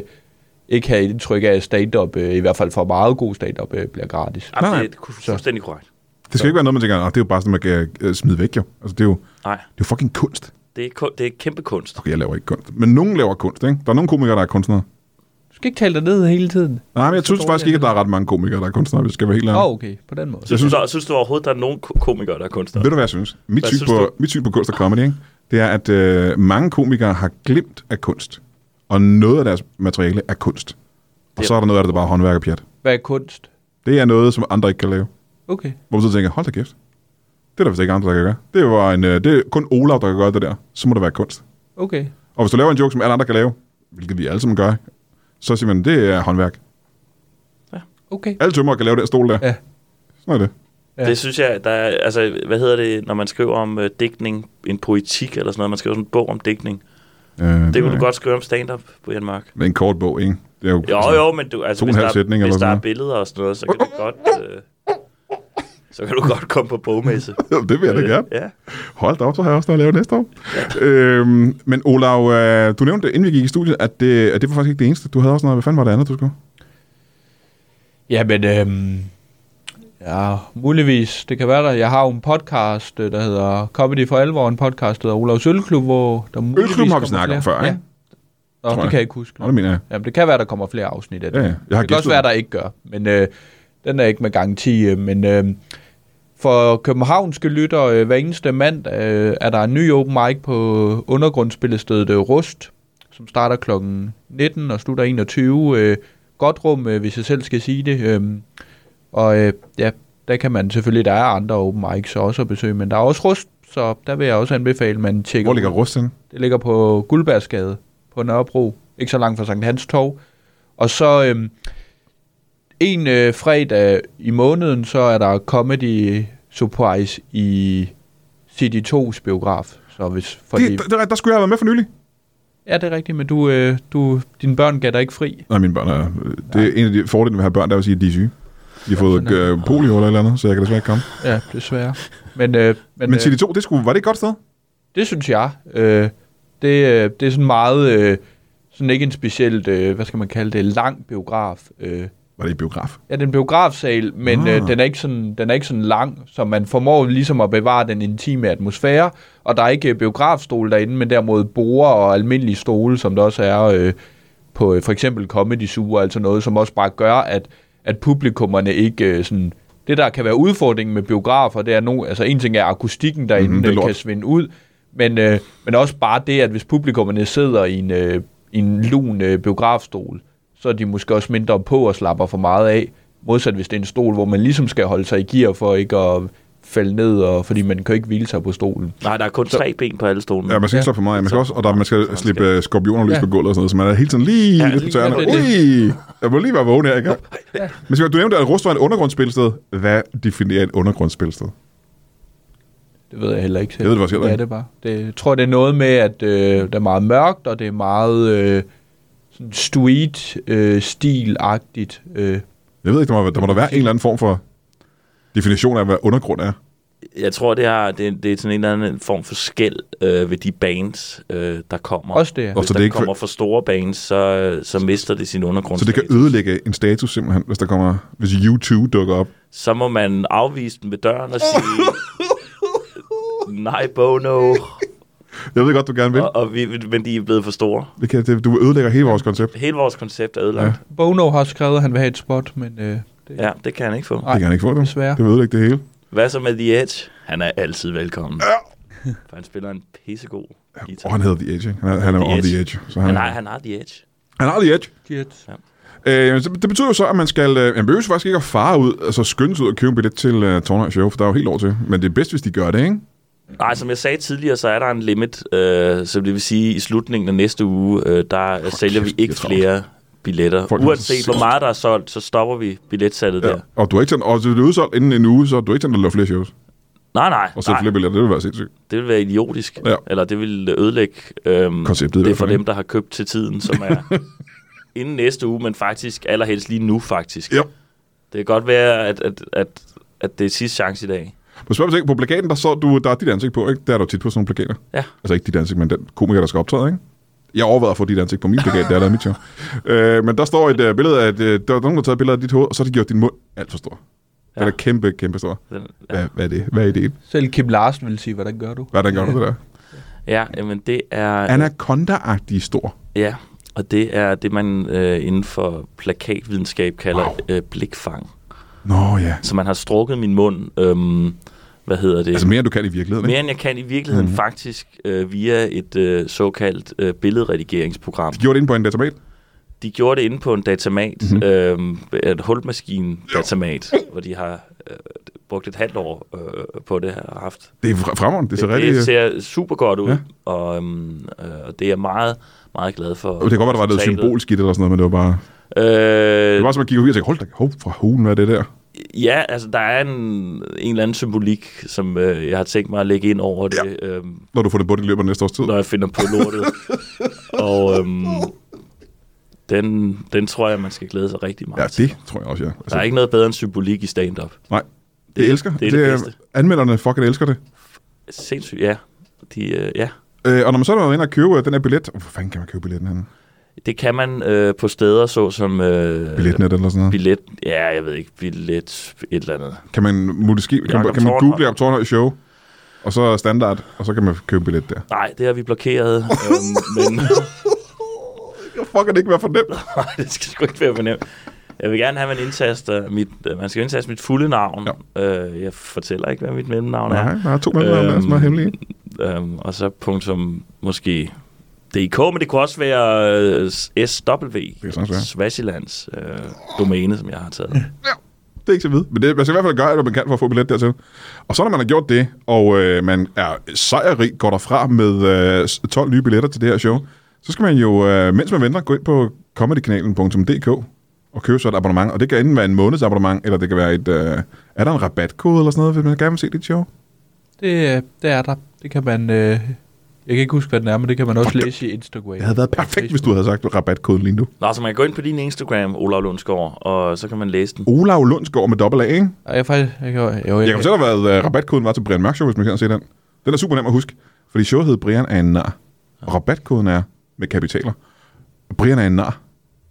[SPEAKER 3] ikke have et indtryk af, at stand-up, øh, i hvert fald for meget god stand-up, øh, bliver gratis.
[SPEAKER 2] Jamen,
[SPEAKER 1] Nej,
[SPEAKER 2] det er fuldstændig korrekt.
[SPEAKER 1] Det skal ikke være noget, man tænker, "Nå, det er jo bare sådan, man kan øh, smide væk, jo. Altså, det er jo,
[SPEAKER 2] Nej,
[SPEAKER 1] det er jo fucking kunst.
[SPEAKER 2] det er, kun, det er kæmpe kunst.
[SPEAKER 1] Okay, jeg laver ikke kunst. Men nogen laver kunst, ikke? Der er nogle komikere, der er kunstnere.
[SPEAKER 3] Du skal ikke tale dig ned hele tiden.
[SPEAKER 1] Nej, men jeg
[SPEAKER 3] Så
[SPEAKER 1] synes
[SPEAKER 3] dårlig
[SPEAKER 1] faktisk
[SPEAKER 3] er
[SPEAKER 1] ikke, at
[SPEAKER 3] den.
[SPEAKER 1] der er ret mange komikere, der er kunstnere, hvis jeg skal være helt
[SPEAKER 3] Åh,
[SPEAKER 1] ærlig.
[SPEAKER 3] oh, okay, på den måde.
[SPEAKER 2] Så jeg synes, der, synes du overhovedet, der er nogen ko- komikere, der er kunstnere?
[SPEAKER 1] Ved du, hvad jeg synes? Mit,
[SPEAKER 2] Hvad
[SPEAKER 1] syn,
[SPEAKER 2] synes
[SPEAKER 1] på,
[SPEAKER 2] du?
[SPEAKER 1] mit syn på kunst og comedy, ikke? det er, at øh, mange komikere har glemt af kunst, og noget af deres materiale er kunst. Og
[SPEAKER 2] Det-
[SPEAKER 1] så er der noget af det, der bare er håndværk og pjat.
[SPEAKER 3] Hvad er kunst?
[SPEAKER 1] Det er noget, som andre ikke kan lave.
[SPEAKER 3] Okay.
[SPEAKER 1] Hvor man så tænker, hold da kæft. Det er der vist ikke andre, der kan gøre. Det, var en, øh, det er kun Olav, der kan gøre det der. Så må det være kunst.
[SPEAKER 3] Okay.
[SPEAKER 1] Og hvis du laver en joke, som alle andre kan lave, hvilket vi alle sammen gør, så siger man, det er håndværk.
[SPEAKER 3] Okay.
[SPEAKER 1] Alle tømmer kan lave den stol der.
[SPEAKER 3] Ja.
[SPEAKER 1] Sådan er det.
[SPEAKER 3] Ja.
[SPEAKER 2] Det synes jeg, der er, altså, hvad hedder det, når man skriver om øh, digtning, en poetik eller sådan noget, man skriver sådan en bog om digtning.
[SPEAKER 1] Øh,
[SPEAKER 2] Det kunne
[SPEAKER 1] er-
[SPEAKER 2] du godt skrive om stand-up, Brian Mørk.
[SPEAKER 1] Men en kort bog, ikke? Det er jo,
[SPEAKER 2] Jo, jo, men du, altså,
[SPEAKER 1] to og en
[SPEAKER 2] hvis
[SPEAKER 1] halv
[SPEAKER 2] der,
[SPEAKER 1] sætning
[SPEAKER 2] hvis
[SPEAKER 1] eller
[SPEAKER 2] der
[SPEAKER 1] sådan
[SPEAKER 2] er
[SPEAKER 1] noget.
[SPEAKER 2] billeder og sådan noget, så kan du godt... Øh, så kan du godt komme på bogmesse.
[SPEAKER 1] det vil jeg da
[SPEAKER 2] Øh,
[SPEAKER 1] gerne.
[SPEAKER 2] Ja.
[SPEAKER 1] Hold da op, så har jeg også noget at lave næste år. øhm, men Olav, øh, du nævnte, inden vi gik i studiet, at det, at det var faktisk ikke det eneste. Du havde også noget, hvad fanden var det andet, du skulle?
[SPEAKER 3] Jamen, øhm, ja, muligvis. Det kan være der. Jeg har jo en podcast, øh, der hedder Comedy for Alvor, en podcast, der hedder Olavs Ølklub, hvor der muligvis
[SPEAKER 1] Ølklubben har vi
[SPEAKER 3] kommer
[SPEAKER 1] snakket om
[SPEAKER 3] flere.
[SPEAKER 1] før, ikke?
[SPEAKER 3] Nå,
[SPEAKER 1] tror
[SPEAKER 3] det
[SPEAKER 1] jeg.
[SPEAKER 3] kan jeg ikke huske.
[SPEAKER 1] Nå, det mener jeg.
[SPEAKER 3] Jamen, det kan være, der kommer flere afsnit af det.
[SPEAKER 1] Ja, ja. Jeg har
[SPEAKER 3] det kan også
[SPEAKER 1] gæstet
[SPEAKER 3] være,
[SPEAKER 1] den.
[SPEAKER 3] der ikke gør, men øh, den er ikke med garanti. Øh, men øh, for københavnske lytter, øh, hver eneste mandag øh, er der en ny open mic på undergrundsspillestedet øh, Rust, som starter kl. 19 og slutter 21. Øh, godt rum, øh, hvis jeg selv skal sige det. Øh, og øh, ja, der kan man selvfølgelig, der er andre open mics også at besøge, men der er også Rust, så der vil jeg også anbefale, at man tjekker
[SPEAKER 1] Hvor ligger Rust henne?
[SPEAKER 3] det ligger på Guldbergsgade på Nørrebro, ikke så langt fra Sankt Hans Torv. Og så øhm, en øh, fredag i måneden, så er der Comedy Surprise i CD2's biograf. Så hvis for
[SPEAKER 1] Det,
[SPEAKER 3] de...
[SPEAKER 1] der, der, der skulle jeg have været med for nylig.
[SPEAKER 3] Ja, det er rigtigt, men du, øh, du, dine børn gav dig ikke fri.
[SPEAKER 1] Nej, mine børn er... øh, Det er en af de fordele ved at have børn, der vil sige, at de er syge. De har fået
[SPEAKER 3] sådan er
[SPEAKER 1] øh, polio eller et eller andet, så jeg kan desværre ikke komme.
[SPEAKER 3] Ja, desværre. Men, øh, men,
[SPEAKER 1] Men, men
[SPEAKER 3] øh,
[SPEAKER 1] CD2, det skulle, var det et godt sted?
[SPEAKER 3] Det synes jeg. Øh, det, øh, det er sådan meget, øh, sådan ikke en specielt, øh, hvad skal man kalde det, lang biograf. Øh,
[SPEAKER 1] Var det i biograf?
[SPEAKER 3] Ja, den biografsal, men
[SPEAKER 1] Ah.
[SPEAKER 3] ah. øh, den, er ikke sådan, den er ikke sådan lang, så man formår ligesom at bevare den intime atmosfære, og der er ikke øh, biografstole derinde, men derimod borer og almindelige stole, som der også er øh, på øh, for eksempel Comedy Zoo, altså noget, som også bare gør, at, at publikummerne ikke øh, sådan... Det, der kan være udfordringen med biografer, det er nu, altså en ting er akustikken derinde,
[SPEAKER 1] Mhm,
[SPEAKER 3] mm,
[SPEAKER 1] det er
[SPEAKER 3] kan
[SPEAKER 1] lort.
[SPEAKER 3] svinde ud, men, øh, men også bare det, at hvis publikummerne sidder i en, øh, i en lun øh, biografstol, så er de måske også mindre på og slapper for meget af. Modsat hvis det er en stol, hvor man ligesom skal holde sig i gear for ikke at falde ned, og, fordi man kan jo ikke hvile sig på stolen.
[SPEAKER 2] Nej, der er kun tre ben på alle stolene.
[SPEAKER 1] Ja, man skal ikke slå for meget. af. Man skal
[SPEAKER 2] Så-
[SPEAKER 1] også, og der, man skal
[SPEAKER 2] så man
[SPEAKER 1] slippe øh, skorpioner løs
[SPEAKER 3] Ja.
[SPEAKER 1] på gulvet og sådan noget, så man er hele tiden lige
[SPEAKER 2] Ja,
[SPEAKER 1] ja, lidt på
[SPEAKER 2] lige-
[SPEAKER 1] tæerne.
[SPEAKER 3] det er det.
[SPEAKER 1] Ui! Jeg må lige være vågen her, ikke? Men Simon, du nævnte, at Rust var et undergrundsspilsted. Hvad definerer et undergrundsspilsted?
[SPEAKER 3] Det ved jeg heller ikke selv.
[SPEAKER 1] Jeg ved det faktisk heller
[SPEAKER 3] Hvad er
[SPEAKER 1] ikke.
[SPEAKER 3] det bare? Det, jeg tror, det er noget med, at øh, det er meget mørkt, og det er meget øh, sådan street-stil-agtigt. Øh,
[SPEAKER 1] Jeg ved ikke, der må, der må der være en eller anden form for definition af, hvad undergrund er.
[SPEAKER 2] Jeg tror, det er, det, det er sådan en eller anden form for skæld øh, ved de bands, øh, der kommer.
[SPEAKER 3] også det her.
[SPEAKER 1] Og
[SPEAKER 2] Hvis
[SPEAKER 1] så
[SPEAKER 2] der
[SPEAKER 1] det
[SPEAKER 2] det
[SPEAKER 1] ikke-
[SPEAKER 2] kommer for store bands, så, øh, så mister det sin undergrund.
[SPEAKER 1] Så det kan ødelægge en status simpelthen, hvis der kommer, hvis U2 dukker op.
[SPEAKER 2] så må man afvise den ved døren og sige, nej, Bono,
[SPEAKER 1] Jeg ved godt, du gerne vil.
[SPEAKER 2] og, og vi, men de er blevet for store.
[SPEAKER 1] Det kan, det, du ødelægger hele vores koncept.
[SPEAKER 2] Hele vores koncept er ødelagt.
[SPEAKER 3] Bono har skrevet, at han vil have et spot, men øh, det,
[SPEAKER 2] Ja, ja det kan han ikke få.
[SPEAKER 1] Det kan han ikke få, du.
[SPEAKER 3] desværre.
[SPEAKER 1] Det vil ødelægge det hele.
[SPEAKER 2] Hvad så med The Edge? Han er altid velkommen. For han spiller en pissegod guitar.
[SPEAKER 1] Og han hedder The Edge, ikke? Han er, han er
[SPEAKER 2] The
[SPEAKER 1] on
[SPEAKER 2] Edge.
[SPEAKER 1] The Edge. Så han,
[SPEAKER 2] Han har, han har The Edge.
[SPEAKER 1] han har The Edge.
[SPEAKER 3] Shit.
[SPEAKER 1] Øh, så- det betyder jo så, at man skal... Øh, man behøver faktisk ikke at fare ud, altså skynde sig ud og købe en billet til øh, Tornhøj Show, for der er jo helt over til. Men det er bedst, hvis de gør det, ikke?
[SPEAKER 2] Nej, som jeg sagde tidligere, så er der en limit. Øh, så det vil sige, at i slutningen af næste uge, øh, der Hold sælger
[SPEAKER 1] kæft,
[SPEAKER 2] vi ikke
[SPEAKER 1] det er travlt.
[SPEAKER 2] flere billetter.
[SPEAKER 1] Folk
[SPEAKER 2] Folk
[SPEAKER 1] er så
[SPEAKER 2] Uanset hvor
[SPEAKER 1] sindssygt.
[SPEAKER 2] meget der er solgt, så stopper vi billetsalget ja. der.
[SPEAKER 1] Og du har ikke tænkt, og hvis det er udsolgt inden en uge, så du har ikke tænkt at lave flere shows.
[SPEAKER 2] Nej, nej,
[SPEAKER 1] Og sælge
[SPEAKER 2] nej.
[SPEAKER 1] flere billetter, det vil være sindssygt.
[SPEAKER 2] Det vil være idiotisk.
[SPEAKER 1] Ja.
[SPEAKER 2] Ja. Eller det vil ødelægge øhm,
[SPEAKER 1] Konceptet i
[SPEAKER 2] det
[SPEAKER 1] hvert
[SPEAKER 2] er for
[SPEAKER 1] fald,
[SPEAKER 2] dem, der har købt til tiden, som er inden næste uge, men faktisk allerhelst lige nu faktisk.
[SPEAKER 1] Ja.
[SPEAKER 2] Det kan godt være, at, at, at, at det er sidste chance i dag.
[SPEAKER 1] Men spørg mig ting, på plakaten, der så du, der er dit ansigt på, ikke? Der er du tit på sådan nogle plakater.
[SPEAKER 2] Ja.
[SPEAKER 1] Altså ikke dit ansigt, men den komiker, der skal optræde, ikke? Jeg overvejede at få dit ansigt på min plakat, der er der mit show. Øh, men der står et øh, billede af, at øh, der er nogen, der har taget et billede af dit hoved, og så har de gjort din mund alt for stor. Ja.
[SPEAKER 2] Ja.
[SPEAKER 1] Den er kæmpe, kæmpe stor.
[SPEAKER 2] Den, ja.
[SPEAKER 1] Hvad, hvad er det? Hvad er ideen?
[SPEAKER 3] Selv Kim Larsen vil sige, hvordan gør du?
[SPEAKER 1] Hvordan gør du det der?
[SPEAKER 2] ja, jamen det er...
[SPEAKER 1] Anaconda-agtig stor.
[SPEAKER 2] Ja, og det er det, man øh, inden for plakatvidenskab kalder
[SPEAKER 1] Wow.
[SPEAKER 2] wow. øh, blikfang.
[SPEAKER 1] Nå ja.
[SPEAKER 2] Så man har strukket min mund, øhm, hvad hedder det?
[SPEAKER 1] Altså Mhm. mere, end du kan i virkeligheden,
[SPEAKER 2] mere
[SPEAKER 1] ikke?
[SPEAKER 2] end jeg kan i virkeligheden mm. faktisk øh, via et øh, såkaldt øh, billedredigeringsprogram.
[SPEAKER 1] De gjorde det inde på en datamat.
[SPEAKER 2] De gjorde det inde på en datamat,
[SPEAKER 1] Mhm.
[SPEAKER 2] mm-hmm. øh, en hulmaskine-datamat, hvor de har øh, brugt et halvt år øh, på det her og haft.
[SPEAKER 1] Det er fre- fremragende. Det ser
[SPEAKER 2] det,
[SPEAKER 1] rigtig... øh,
[SPEAKER 2] det ser super godt ud,
[SPEAKER 1] Ja.
[SPEAKER 2] ja. og, øhm, øh, og det er jeg meget, meget glad for.
[SPEAKER 1] det kan godt være, der var noget
[SPEAKER 2] resultatet.
[SPEAKER 1] symbolsk i det eller sådan noget, men det var bare...
[SPEAKER 2] Øh,
[SPEAKER 1] Det var som at kigge ud og tænke, hold da, hov, fra hulen, hvad er det der?
[SPEAKER 2] Ja, altså der er en, en eller anden symbolik, som øh, jeg har tænkt mig at lægge ind over det, ja. øhm,
[SPEAKER 1] Når du får det på det i løbet af næste års tid.
[SPEAKER 2] når jeg finder på lortet. og øhm, den, den tror jeg, man skal glæde sig rigtig meget
[SPEAKER 1] Ja,
[SPEAKER 2] til.
[SPEAKER 1] det tror jeg også, ja. Altså,
[SPEAKER 2] Der er ikke noget bedre end symbolik i stand-up.
[SPEAKER 1] Nej, det, det elsker.
[SPEAKER 2] det er det bedste.
[SPEAKER 1] Anmelderne fucking elsker det.
[SPEAKER 2] Sindssygt, ja. De, øh, ja.
[SPEAKER 1] Øh, og når man så er inde og købe øh, den her billet... Hvor fanden kan man købe billetten henne?
[SPEAKER 2] Det kan man øh, på steder såsom... Øh,
[SPEAKER 1] Billetnet eller sådan noget.
[SPEAKER 2] Billet, ja, jeg ved ikke, billet, et eller andet.
[SPEAKER 1] Kan man måske... Kan, man-
[SPEAKER 2] Jakob
[SPEAKER 1] kan man
[SPEAKER 2] Tornhøj.
[SPEAKER 1] google Jacob Tornhøj Show, og så standard, og så kan man købe billet der.
[SPEAKER 2] Nej, det har vi blokeret, øhm, men
[SPEAKER 1] kan fucking ikke være for nemt.
[SPEAKER 2] Nej, det skal sgu ikke være for nemt. Jeg vil gerne have, at man indtaster mit, øh, man skal indtaste mit fulde navn. Ja. Øh, jeg fortæller ikke, hvad mit mellemnavn er.
[SPEAKER 1] Nej, der er to mellemnavne, øhm, som er hemmelige.
[SPEAKER 2] Øhm, og så punktum, måske DK, men det kunne også være øh, SW,
[SPEAKER 1] kan sagtens være.
[SPEAKER 2] Swazilands øh, domæne, som jeg har taget.
[SPEAKER 1] Det er ikke så vidt. Men det, man skal i hvert fald gøre, alt, hvad man kan for at få billet dertil. Og så når man har gjort det, og øh, man er sejrig, går derfra med øh, 12 nye billetter til det her show, så skal man jo, øh, mens man venter, gå ind på comedykanalen.dk og købe så et abonnement. Og det kan enten være en måneds abonnement, eller det kan være et... Øh, er der en rabatkode eller sådan noget, hvis man gerne vil se dit show?
[SPEAKER 3] Det, øh, det er der. Det kan man... Øh, jeg kan ikke huske, hvad den er, men det kan man også læse i Instagram.
[SPEAKER 1] Det havde været perfekt, hvis du havde sagt rabatkoden lige nu.
[SPEAKER 2] Nå, så man kan gå ind på din Instagram, Olav Lundsgaard, og så kan man læse den.
[SPEAKER 1] Olav Lundsgaard med dobbelt A, ikke?
[SPEAKER 3] Jeg, jeg, faktisk, jeg, kan, jo, jo,
[SPEAKER 1] Jeg kan
[SPEAKER 3] jeg,
[SPEAKER 1] fortælle dig, hvad øh, rabatkoden var til Brian Mørk Show, hvis man kan se den. Den er super nem at huske, fordi showet hed Brian er en nar. Og rabatkoden er med kapitaler. Brian er en nar.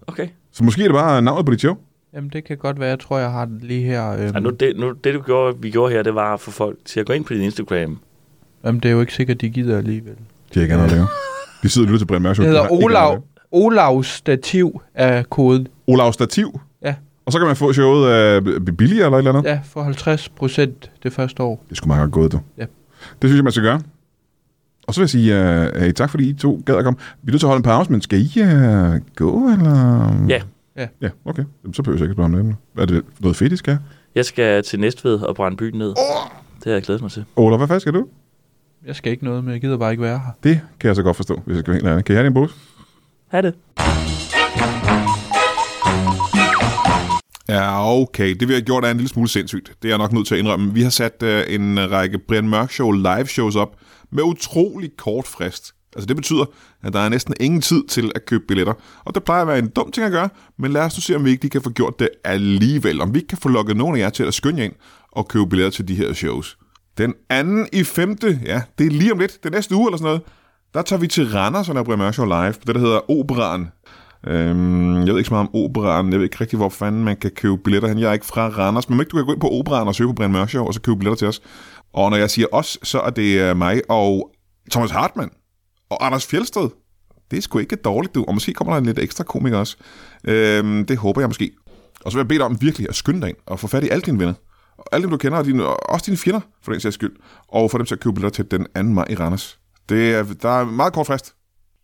[SPEAKER 2] Okay.
[SPEAKER 1] Så måske er det bare navnet på dit show.
[SPEAKER 3] jamen, det kan godt være. Jeg tror, jeg har den lige her. Øh,
[SPEAKER 2] Ja, nu, det, nu, det du gjorde, vi gjorde her, det var at få folk til at gå ind på din Instagram.
[SPEAKER 3] Jamen, det er jo ikke sikkert, de gider alligevel.
[SPEAKER 1] Det er ikke andet at lave. De sidder og lytter til Brian Mørk Show.
[SPEAKER 3] Det
[SPEAKER 1] De har
[SPEAKER 3] hedder
[SPEAKER 1] ikke andet at
[SPEAKER 3] Olav,
[SPEAKER 1] lave.
[SPEAKER 3] Olavs stativ er koden.
[SPEAKER 1] Olav Stativ.
[SPEAKER 3] Ja.
[SPEAKER 1] Og så kan man få showet øh, billigere eller et eller andet. Ja.
[SPEAKER 3] Ja, for 50 procent det første år.
[SPEAKER 1] Det skulle meget godt gået, du.
[SPEAKER 3] Ja.
[SPEAKER 1] Det synes jeg, man skal gøre. Og så vil jeg sige øh, øh, tak, fordi I to gad at komme. Vi er nødt til at holde en pause, men skal I øh, gå, eller?
[SPEAKER 2] Ja.
[SPEAKER 3] Ja.
[SPEAKER 1] Ja, okay. Jamen, så behøver jeg ikke spørge om det. emne. Er det noget fedt, I skal?
[SPEAKER 2] Jeg skal til Næstved og brænde byen ned. Det har jeg glædet mig til.
[SPEAKER 1] Ola, hvad fanden skal du?
[SPEAKER 3] Jeg skal ikke noget, men jeg gider bare ikke være her.
[SPEAKER 1] Det kan jeg så godt forstå, hvis jeg skal være helt ærlig. Kan jeg have din pose?
[SPEAKER 2] Ha' det.
[SPEAKER 1] Ja, okay. Det vi har gjort er en lille smule sindssygt. Det er jeg nok nødt til at indrømme. Vi har sat øh, en række Brian Mørk Show live shows op med utrolig kort frist. Altså det betyder, at der er næsten ingen tid til at købe billetter. Og det plejer at være en dum ting at gøre, men lad os nu se, om vi ikke lige kan få gjort det alligevel. Om vi ikke kan få lukket nogen af jer til at skynde jer ind og købe billetter til de her shows. Den anden i femte, ja, det er lige om lidt, det er næste uge eller sådan noget, der tager vi til Randers og laver Brian Mørk Show live, på det der hedder Operan. Øhm, jeg ved ikke så meget om operan. Jeg ved ikke rigtig, hvor fanden man kan købe billetter hen. Jeg er ikke fra Randers, men om ikke du kan gå ind på operan og søge på Brian Mørk Show, og så købe billetter til os. Og når jeg siger os, så er det øh, mig og Thomas Hartmann og Anders Fjelsted. Det er sgu ikke dårligt, du. Og måske kommer der en lidt ekstra komiker også. Øhm, det håber jeg måske. Og så vil jeg bede dig om virkelig at skynde dig ind og få fat i alle dine venner. Og alle dem, du kender, og dine, og også dine fjender, for den sags skyld. Og få dem til at købe billetter til den 2. maj i Randers. Det er, der er meget kort frist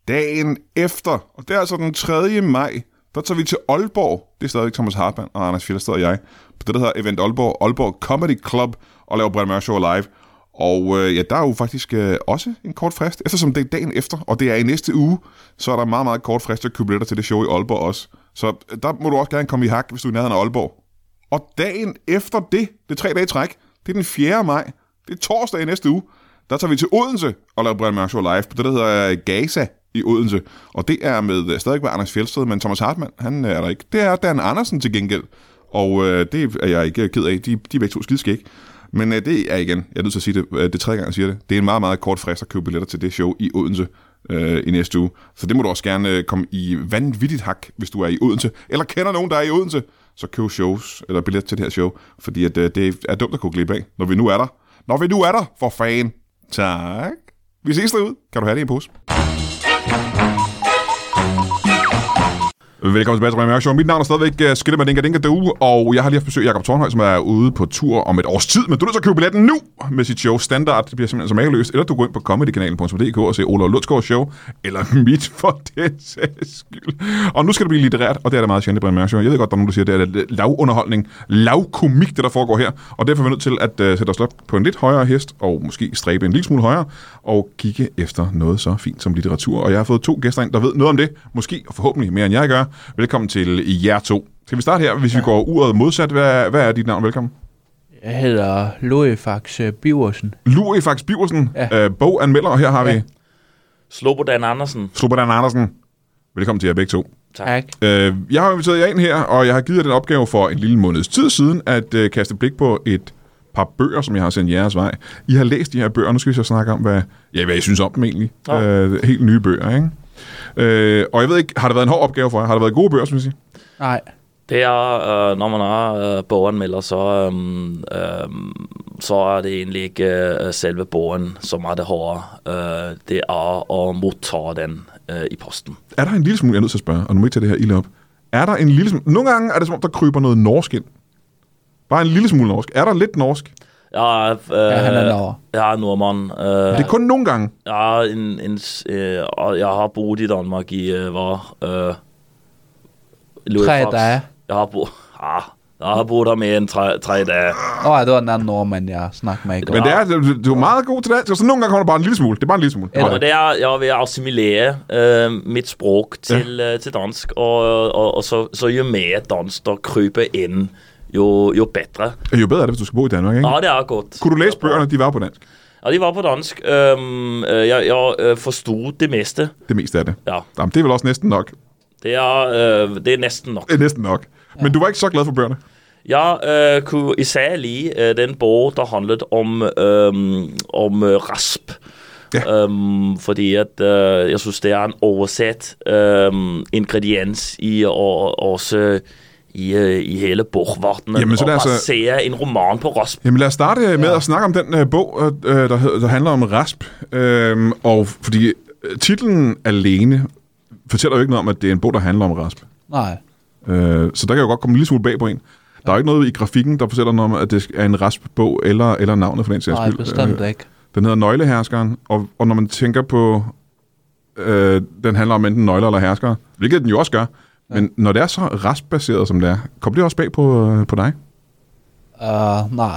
[SPEAKER 1] dagen efter, og det er altså den 3. maj, der tager vi til Aalborg. Det er stadigvæk Thomas Hartmann og Anders Fjellsted og jeg. På det, der hedder Event Aalborg, Aalborg Comedy Club, og laver Brian Mørk Show live. Og øh, ja, der er jo faktisk øh, også en kort frist, eftersom det er dagen efter, og det er i næste uge, så er der meget, meget kort frist til at købe billetter til det show i Aalborg også. Så øh, der må du også gerne komme i hak, hvis du er i nærheden af Aalborg. Og dagen efter det, det er tre dage i træk, det er den 4. maj, det er torsdag i næste uge, der tager vi til Odense og laver Brian Mørk Show live på det, der hedder øh, Gaza i Odense. Og det er med øh, stadig med Anders Fjeldsted, men Thomas Hartmann, han øh, er der ikke. Det er Dan Andersen til gengæld, og øh, det er jeg ikke ked af. De, de er begge to skideskæg. Men øh, det er igen, jeg er nødt til at sige det, øh, det er tredje gang, jeg siger det. Det er en meget, meget kort frist at købe billetter til det show i Odense øh, i næste uge. Så det må du også gerne øh, komme i vanvittigt hak, hvis du er i Odense, eller kender nogen, der er i Odense, så køb shows, eller billet til det her show, fordi at, øh, det er dumt at kunne glip af, når vi nu er der. Når vi nu er der, for fan. Tak. Vi ses derude. Kan du have det i en pose? Velkommen tilbage til Brian Mørk Show. Mit navn er stadigvæk øh, Skille med Dinka Dinka Due, og jeg har lige haft besøg af Jacob Tornhøj, som er ude på tur om et års tid, men du er nødt til at købe billetten nu med sit show Standard. Det bliver simpelthen så mageløst. Eller du går ind på comedykanalen.dk og se Ola Lundsgaards show, eller mit for den sags skyld. Og nu skal det blive litterært, og det er det meget sjældent i Brian Mørk Show. Jeg ved godt, der er nogen, der siger, at det er lavunderholdning, lavkomik, det der foregår her, og derfor er vi nødt til at uh, sætte os op på en lidt højere hest, og måske stræbe en lille smule højere, og kigge efter noget så fint som litteratur. Og jeg har fået to gæster ind, der ved noget om det, måske og forhåbentlig mere end jeg gør. Velkommen til jer to. Skal vi starte her, hvis vi går uret modsat? Hvad, hvad er dit navn? Velkommen.
[SPEAKER 3] Jeg hedder Loefax øh, Biversen.
[SPEAKER 1] Louis Fax Biversen, ja.
[SPEAKER 3] Ja.
[SPEAKER 1] øh, boganmelder, og her har vi ja.
[SPEAKER 3] Ja.
[SPEAKER 2] Slobodan Andersen.
[SPEAKER 1] Slobodan Andersen. Velkommen til jer begge to.
[SPEAKER 2] Tak.
[SPEAKER 1] Øh, jeg har inviteret jer ind her, og jeg har givet jer den opgave for en lille måneds tid siden, at øh, kaste blik på et par bøger, som jeg har sendt jeres vej. I har læst de her bøger, og nu skal vi så snakke om, hvad, ja, hvad I synes om dem egentlig.
[SPEAKER 2] Nå.
[SPEAKER 1] Øh, helt nye bøger, ikke? Øh, og jeg ved ikke, har det været en hård opgave for jer? Har det været gode bøger, synes I?
[SPEAKER 3] Nej,
[SPEAKER 2] Det er, øh, når man er øh, boganmelder, så, øhm, øhm, så er det egentlig ikke øh, selve bogen som er det hårde. Øh, det er at modtage den øh, i posten.
[SPEAKER 1] Er der en lille smule, jeg er nødt til at spørge, og nu må I tage det her ilde op. Er der en lille smule... Nogle gange er det som om, der kryber noget norsk ind. Bare en lille smule norsk. Er der lidt norsk? Ja.
[SPEAKER 2] Jeg, øh,
[SPEAKER 3] Ja, han er norr.
[SPEAKER 2] Jeg er nordmand. Øh,
[SPEAKER 1] Det er kun nogle gange.
[SPEAKER 2] Jeg, er en, en, s- øh, og jeg har boet i Danmark i, øh, hvor... Øh, Louis
[SPEAKER 3] Tre
[SPEAKER 2] Fox.
[SPEAKER 3] dage.
[SPEAKER 2] Jeg har boet... Ah, jeg har boet der mere end tre, tre dage.
[SPEAKER 3] Åh, oh, det var den anden nordmand, jeg snakkede med i går.
[SPEAKER 1] Men det er, du- du er meget god til dansk, og så nogle gange kommer der bare en lille smule. Det er bare en lille smule.
[SPEAKER 3] Ja.
[SPEAKER 2] Og det er, jeg er ved at assimilere øh, mit språk til, øh, til dansk, og, og, og så, så jo mere dansk der kryber ind, jo, jo bedre.
[SPEAKER 1] Jo bedre er det, hvis du skal bo i Danmark, ikke?
[SPEAKER 2] Ja, det er godt.
[SPEAKER 1] Kunne du læse bøgerne, de var på dansk?
[SPEAKER 2] Ja, de var på dansk. Øhm, øh, jeg jeg øh, forstod det meste.
[SPEAKER 1] Det meste af det.
[SPEAKER 2] Ja,
[SPEAKER 1] Jamen, det er vel også næsten nok.
[SPEAKER 2] det er, øh, det er næsten nok.
[SPEAKER 1] Det er næsten nok. Men du var ikke så glad for bøgerne.
[SPEAKER 2] Jeg øh, kunne især lide øh, den bog, der handlede om, øhm, om øh, rasp.
[SPEAKER 1] Ja.
[SPEAKER 2] Ja. Øhm, fordi at, øh, jeg synes, det er en oversat øhm, ingrediens i og, også i, øh, i hele bogvartenen.
[SPEAKER 1] Jamen, så det er
[SPEAKER 2] og
[SPEAKER 1] altså-
[SPEAKER 2] basere en roman på rasp.
[SPEAKER 1] Jamen lad os starte øh, med ja. at snakke om den øh, bog, øh, der, hed- der handler om rasp. Øhm, og fordi øh, titlen alene fortæller jo ikke noget om, at det er en bog, der handler om rasp.
[SPEAKER 3] Nej.
[SPEAKER 1] Øh, så der kan jo godt komme en lille smule bag på en. Der er jo ikke noget i grafikken, der fortæller noget om, at det er en rasp-bog, eller, eller navnet for den sags
[SPEAKER 3] Nej,
[SPEAKER 1] skyld. Øh,
[SPEAKER 3] bestemt ikke.
[SPEAKER 1] Den hedder Nøgleherskeren, og, og når man tænker på, øh, den handler om enten nøgler eller herskere, hvilket den jo også gør, men når det er så restbaseret, som det er, kom det også bag på, øh, på dig?
[SPEAKER 3] Uh, nej,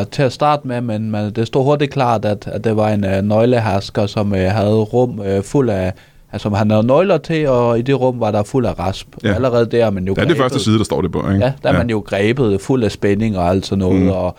[SPEAKER 3] uh, til at starte med, men, men det stod hurtigt klart, at, at det var en uh, nøglehersker, som uh, havde rum uh, fuld af, altså han havde nøgler til, og i det rum var der fuld af rasp.
[SPEAKER 1] Ja.
[SPEAKER 3] Ja. Allerede der er man jo
[SPEAKER 1] Det er det
[SPEAKER 3] grebet.
[SPEAKER 1] første side, der står det på, ikke?
[SPEAKER 3] Ja, der er ja. man jo grebet fuld af spænding og alt sådan noget, mm. og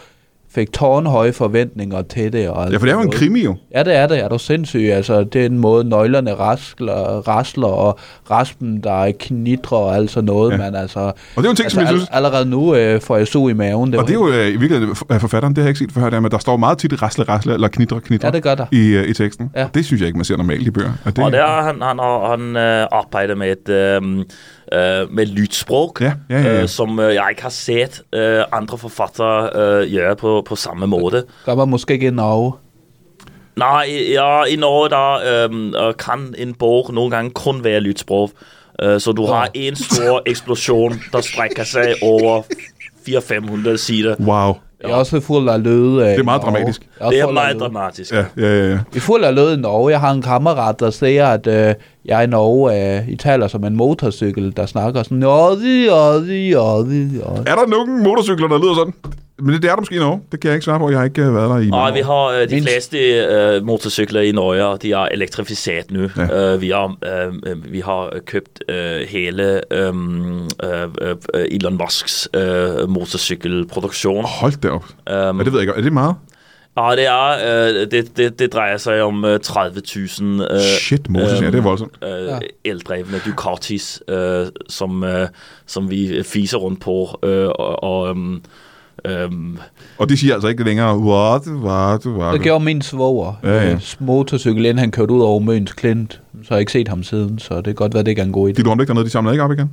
[SPEAKER 3] fik tårnhøje forventninger til det. Og alt
[SPEAKER 1] Ja, for det er jo en
[SPEAKER 3] sådan noget.
[SPEAKER 1] krimi jo.
[SPEAKER 3] Ja, det er det. Er du sindssyg? Altså, det er en måde, nøglerne raskler, rasler, og raspen, der knitrer og alt sådan noget.
[SPEAKER 1] Ja.
[SPEAKER 3] Ja. Men altså, og
[SPEAKER 1] det er jo en ting,
[SPEAKER 3] altså,
[SPEAKER 1] som jeg
[SPEAKER 3] al-
[SPEAKER 1] synes-
[SPEAKER 3] Allerede nu øh, får jeg su i maven. Det
[SPEAKER 1] Og det er jo øh, i virkeligheden af forfatteren, det har jeg ikke set før, det er, men der står meget tit rasle, rasle eller knitre, knitre
[SPEAKER 3] Ja, det gør der.
[SPEAKER 1] I, øh, i teksten.
[SPEAKER 3] Ja.
[SPEAKER 1] Og det synes jeg ikke, man ser normalt i bøger. Og det,
[SPEAKER 2] Og der har han, han, har- han øh, arbejder med et øhm, øh, med lydsprog,
[SPEAKER 1] Ja, ja, ja, ja.
[SPEAKER 2] Øh, som øh, jeg ikke har set øh, andre forfattere øh, gøre på, på samme måde.
[SPEAKER 3] gør man måske ikke i Norge.
[SPEAKER 2] Nej, ja, i Norge der øhm, øh, kan en bog nogle gange kun være lydsprog. Øh, så du har en stor eksplosion, der strækker sig over 400-500 sider.
[SPEAKER 1] Wow.
[SPEAKER 3] Jeg er også fuld af løde. Det
[SPEAKER 1] er meget dramatisk.
[SPEAKER 2] Det er meget dramatisk.
[SPEAKER 1] Ja, ja, ja, ja.
[SPEAKER 3] Vi er fuld af løde i Norge. Jeg har en kammerat, der siger, at øh, jeg i Norge, øh, I taler som en motorcykel, der snakker sådan, joddi, joddi, joddi, joddi.
[SPEAKER 1] Er der nogen motorcykler, der lyder sådan? Men det, det er der måske i Norge. Det kan jeg ikke svare på. Jeg har ikke øh, været der i
[SPEAKER 2] Nej,
[SPEAKER 1] mange
[SPEAKER 2] vi
[SPEAKER 1] år.
[SPEAKER 2] har øh, de
[SPEAKER 3] Mindst.
[SPEAKER 2] fleste øh, motorcykler i Norge, og de er elektrificeret nu.
[SPEAKER 1] Ja.
[SPEAKER 2] Ja. Øh, vi, har, øh, øh, vi har købt øh, hele øh, øh, øh, Elon Musks øh, motorcykelproduktion.
[SPEAKER 1] Hold da op.
[SPEAKER 2] Øhm,
[SPEAKER 1] Ja, det ved jeg ikke. Er det meget?
[SPEAKER 2] Og Ah, det er, øh, det, det, det drejer sig om øh, 30.000 øh,
[SPEAKER 1] Shit, Moses, ja, det
[SPEAKER 3] Øhm,
[SPEAKER 1] er voldsomt.
[SPEAKER 2] Øh,
[SPEAKER 3] Ja.
[SPEAKER 2] ja. eldrevne Ducatis, øh, som, øh, som vi fiser rundt på. Øh, og, og, øhm, øhm,
[SPEAKER 1] Og det siger altså ikke længere, what, what, what.
[SPEAKER 3] Det gjorde min svoger.
[SPEAKER 1] Ja, ja.
[SPEAKER 3] Ja, motorcykel, inden han kørte ud over Møns Klint. Så har jeg ikke set ham siden, så det kan godt være, det ikke er en god idé. Øh,
[SPEAKER 1] Dit rundt ikke dernede, de samlede ikke op igen?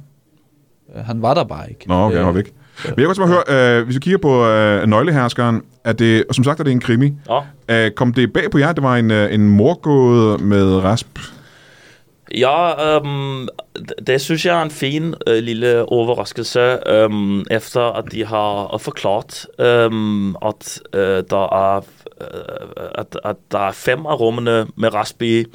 [SPEAKER 3] Han var der bare ikke.
[SPEAKER 1] Nå, okay,
[SPEAKER 3] Øh,
[SPEAKER 1] jeg var væk. Men jeg kunne godt tænke mig at høre, øh, hvis vi kigger på øh, nøgleherskeren, er det, og som sagt er det en krimi.
[SPEAKER 2] ja.
[SPEAKER 1] Øh, kom det bag på jer, at det var en, øh, en morgåde med rasp?
[SPEAKER 2] Ja, øhm, det- det synes jeg er en fin øh, lille overraskelse, øhm, efter at de har forklaret, øhm, at, øh, der er, øh, at, at der er fem af rummene med Raspi, øh,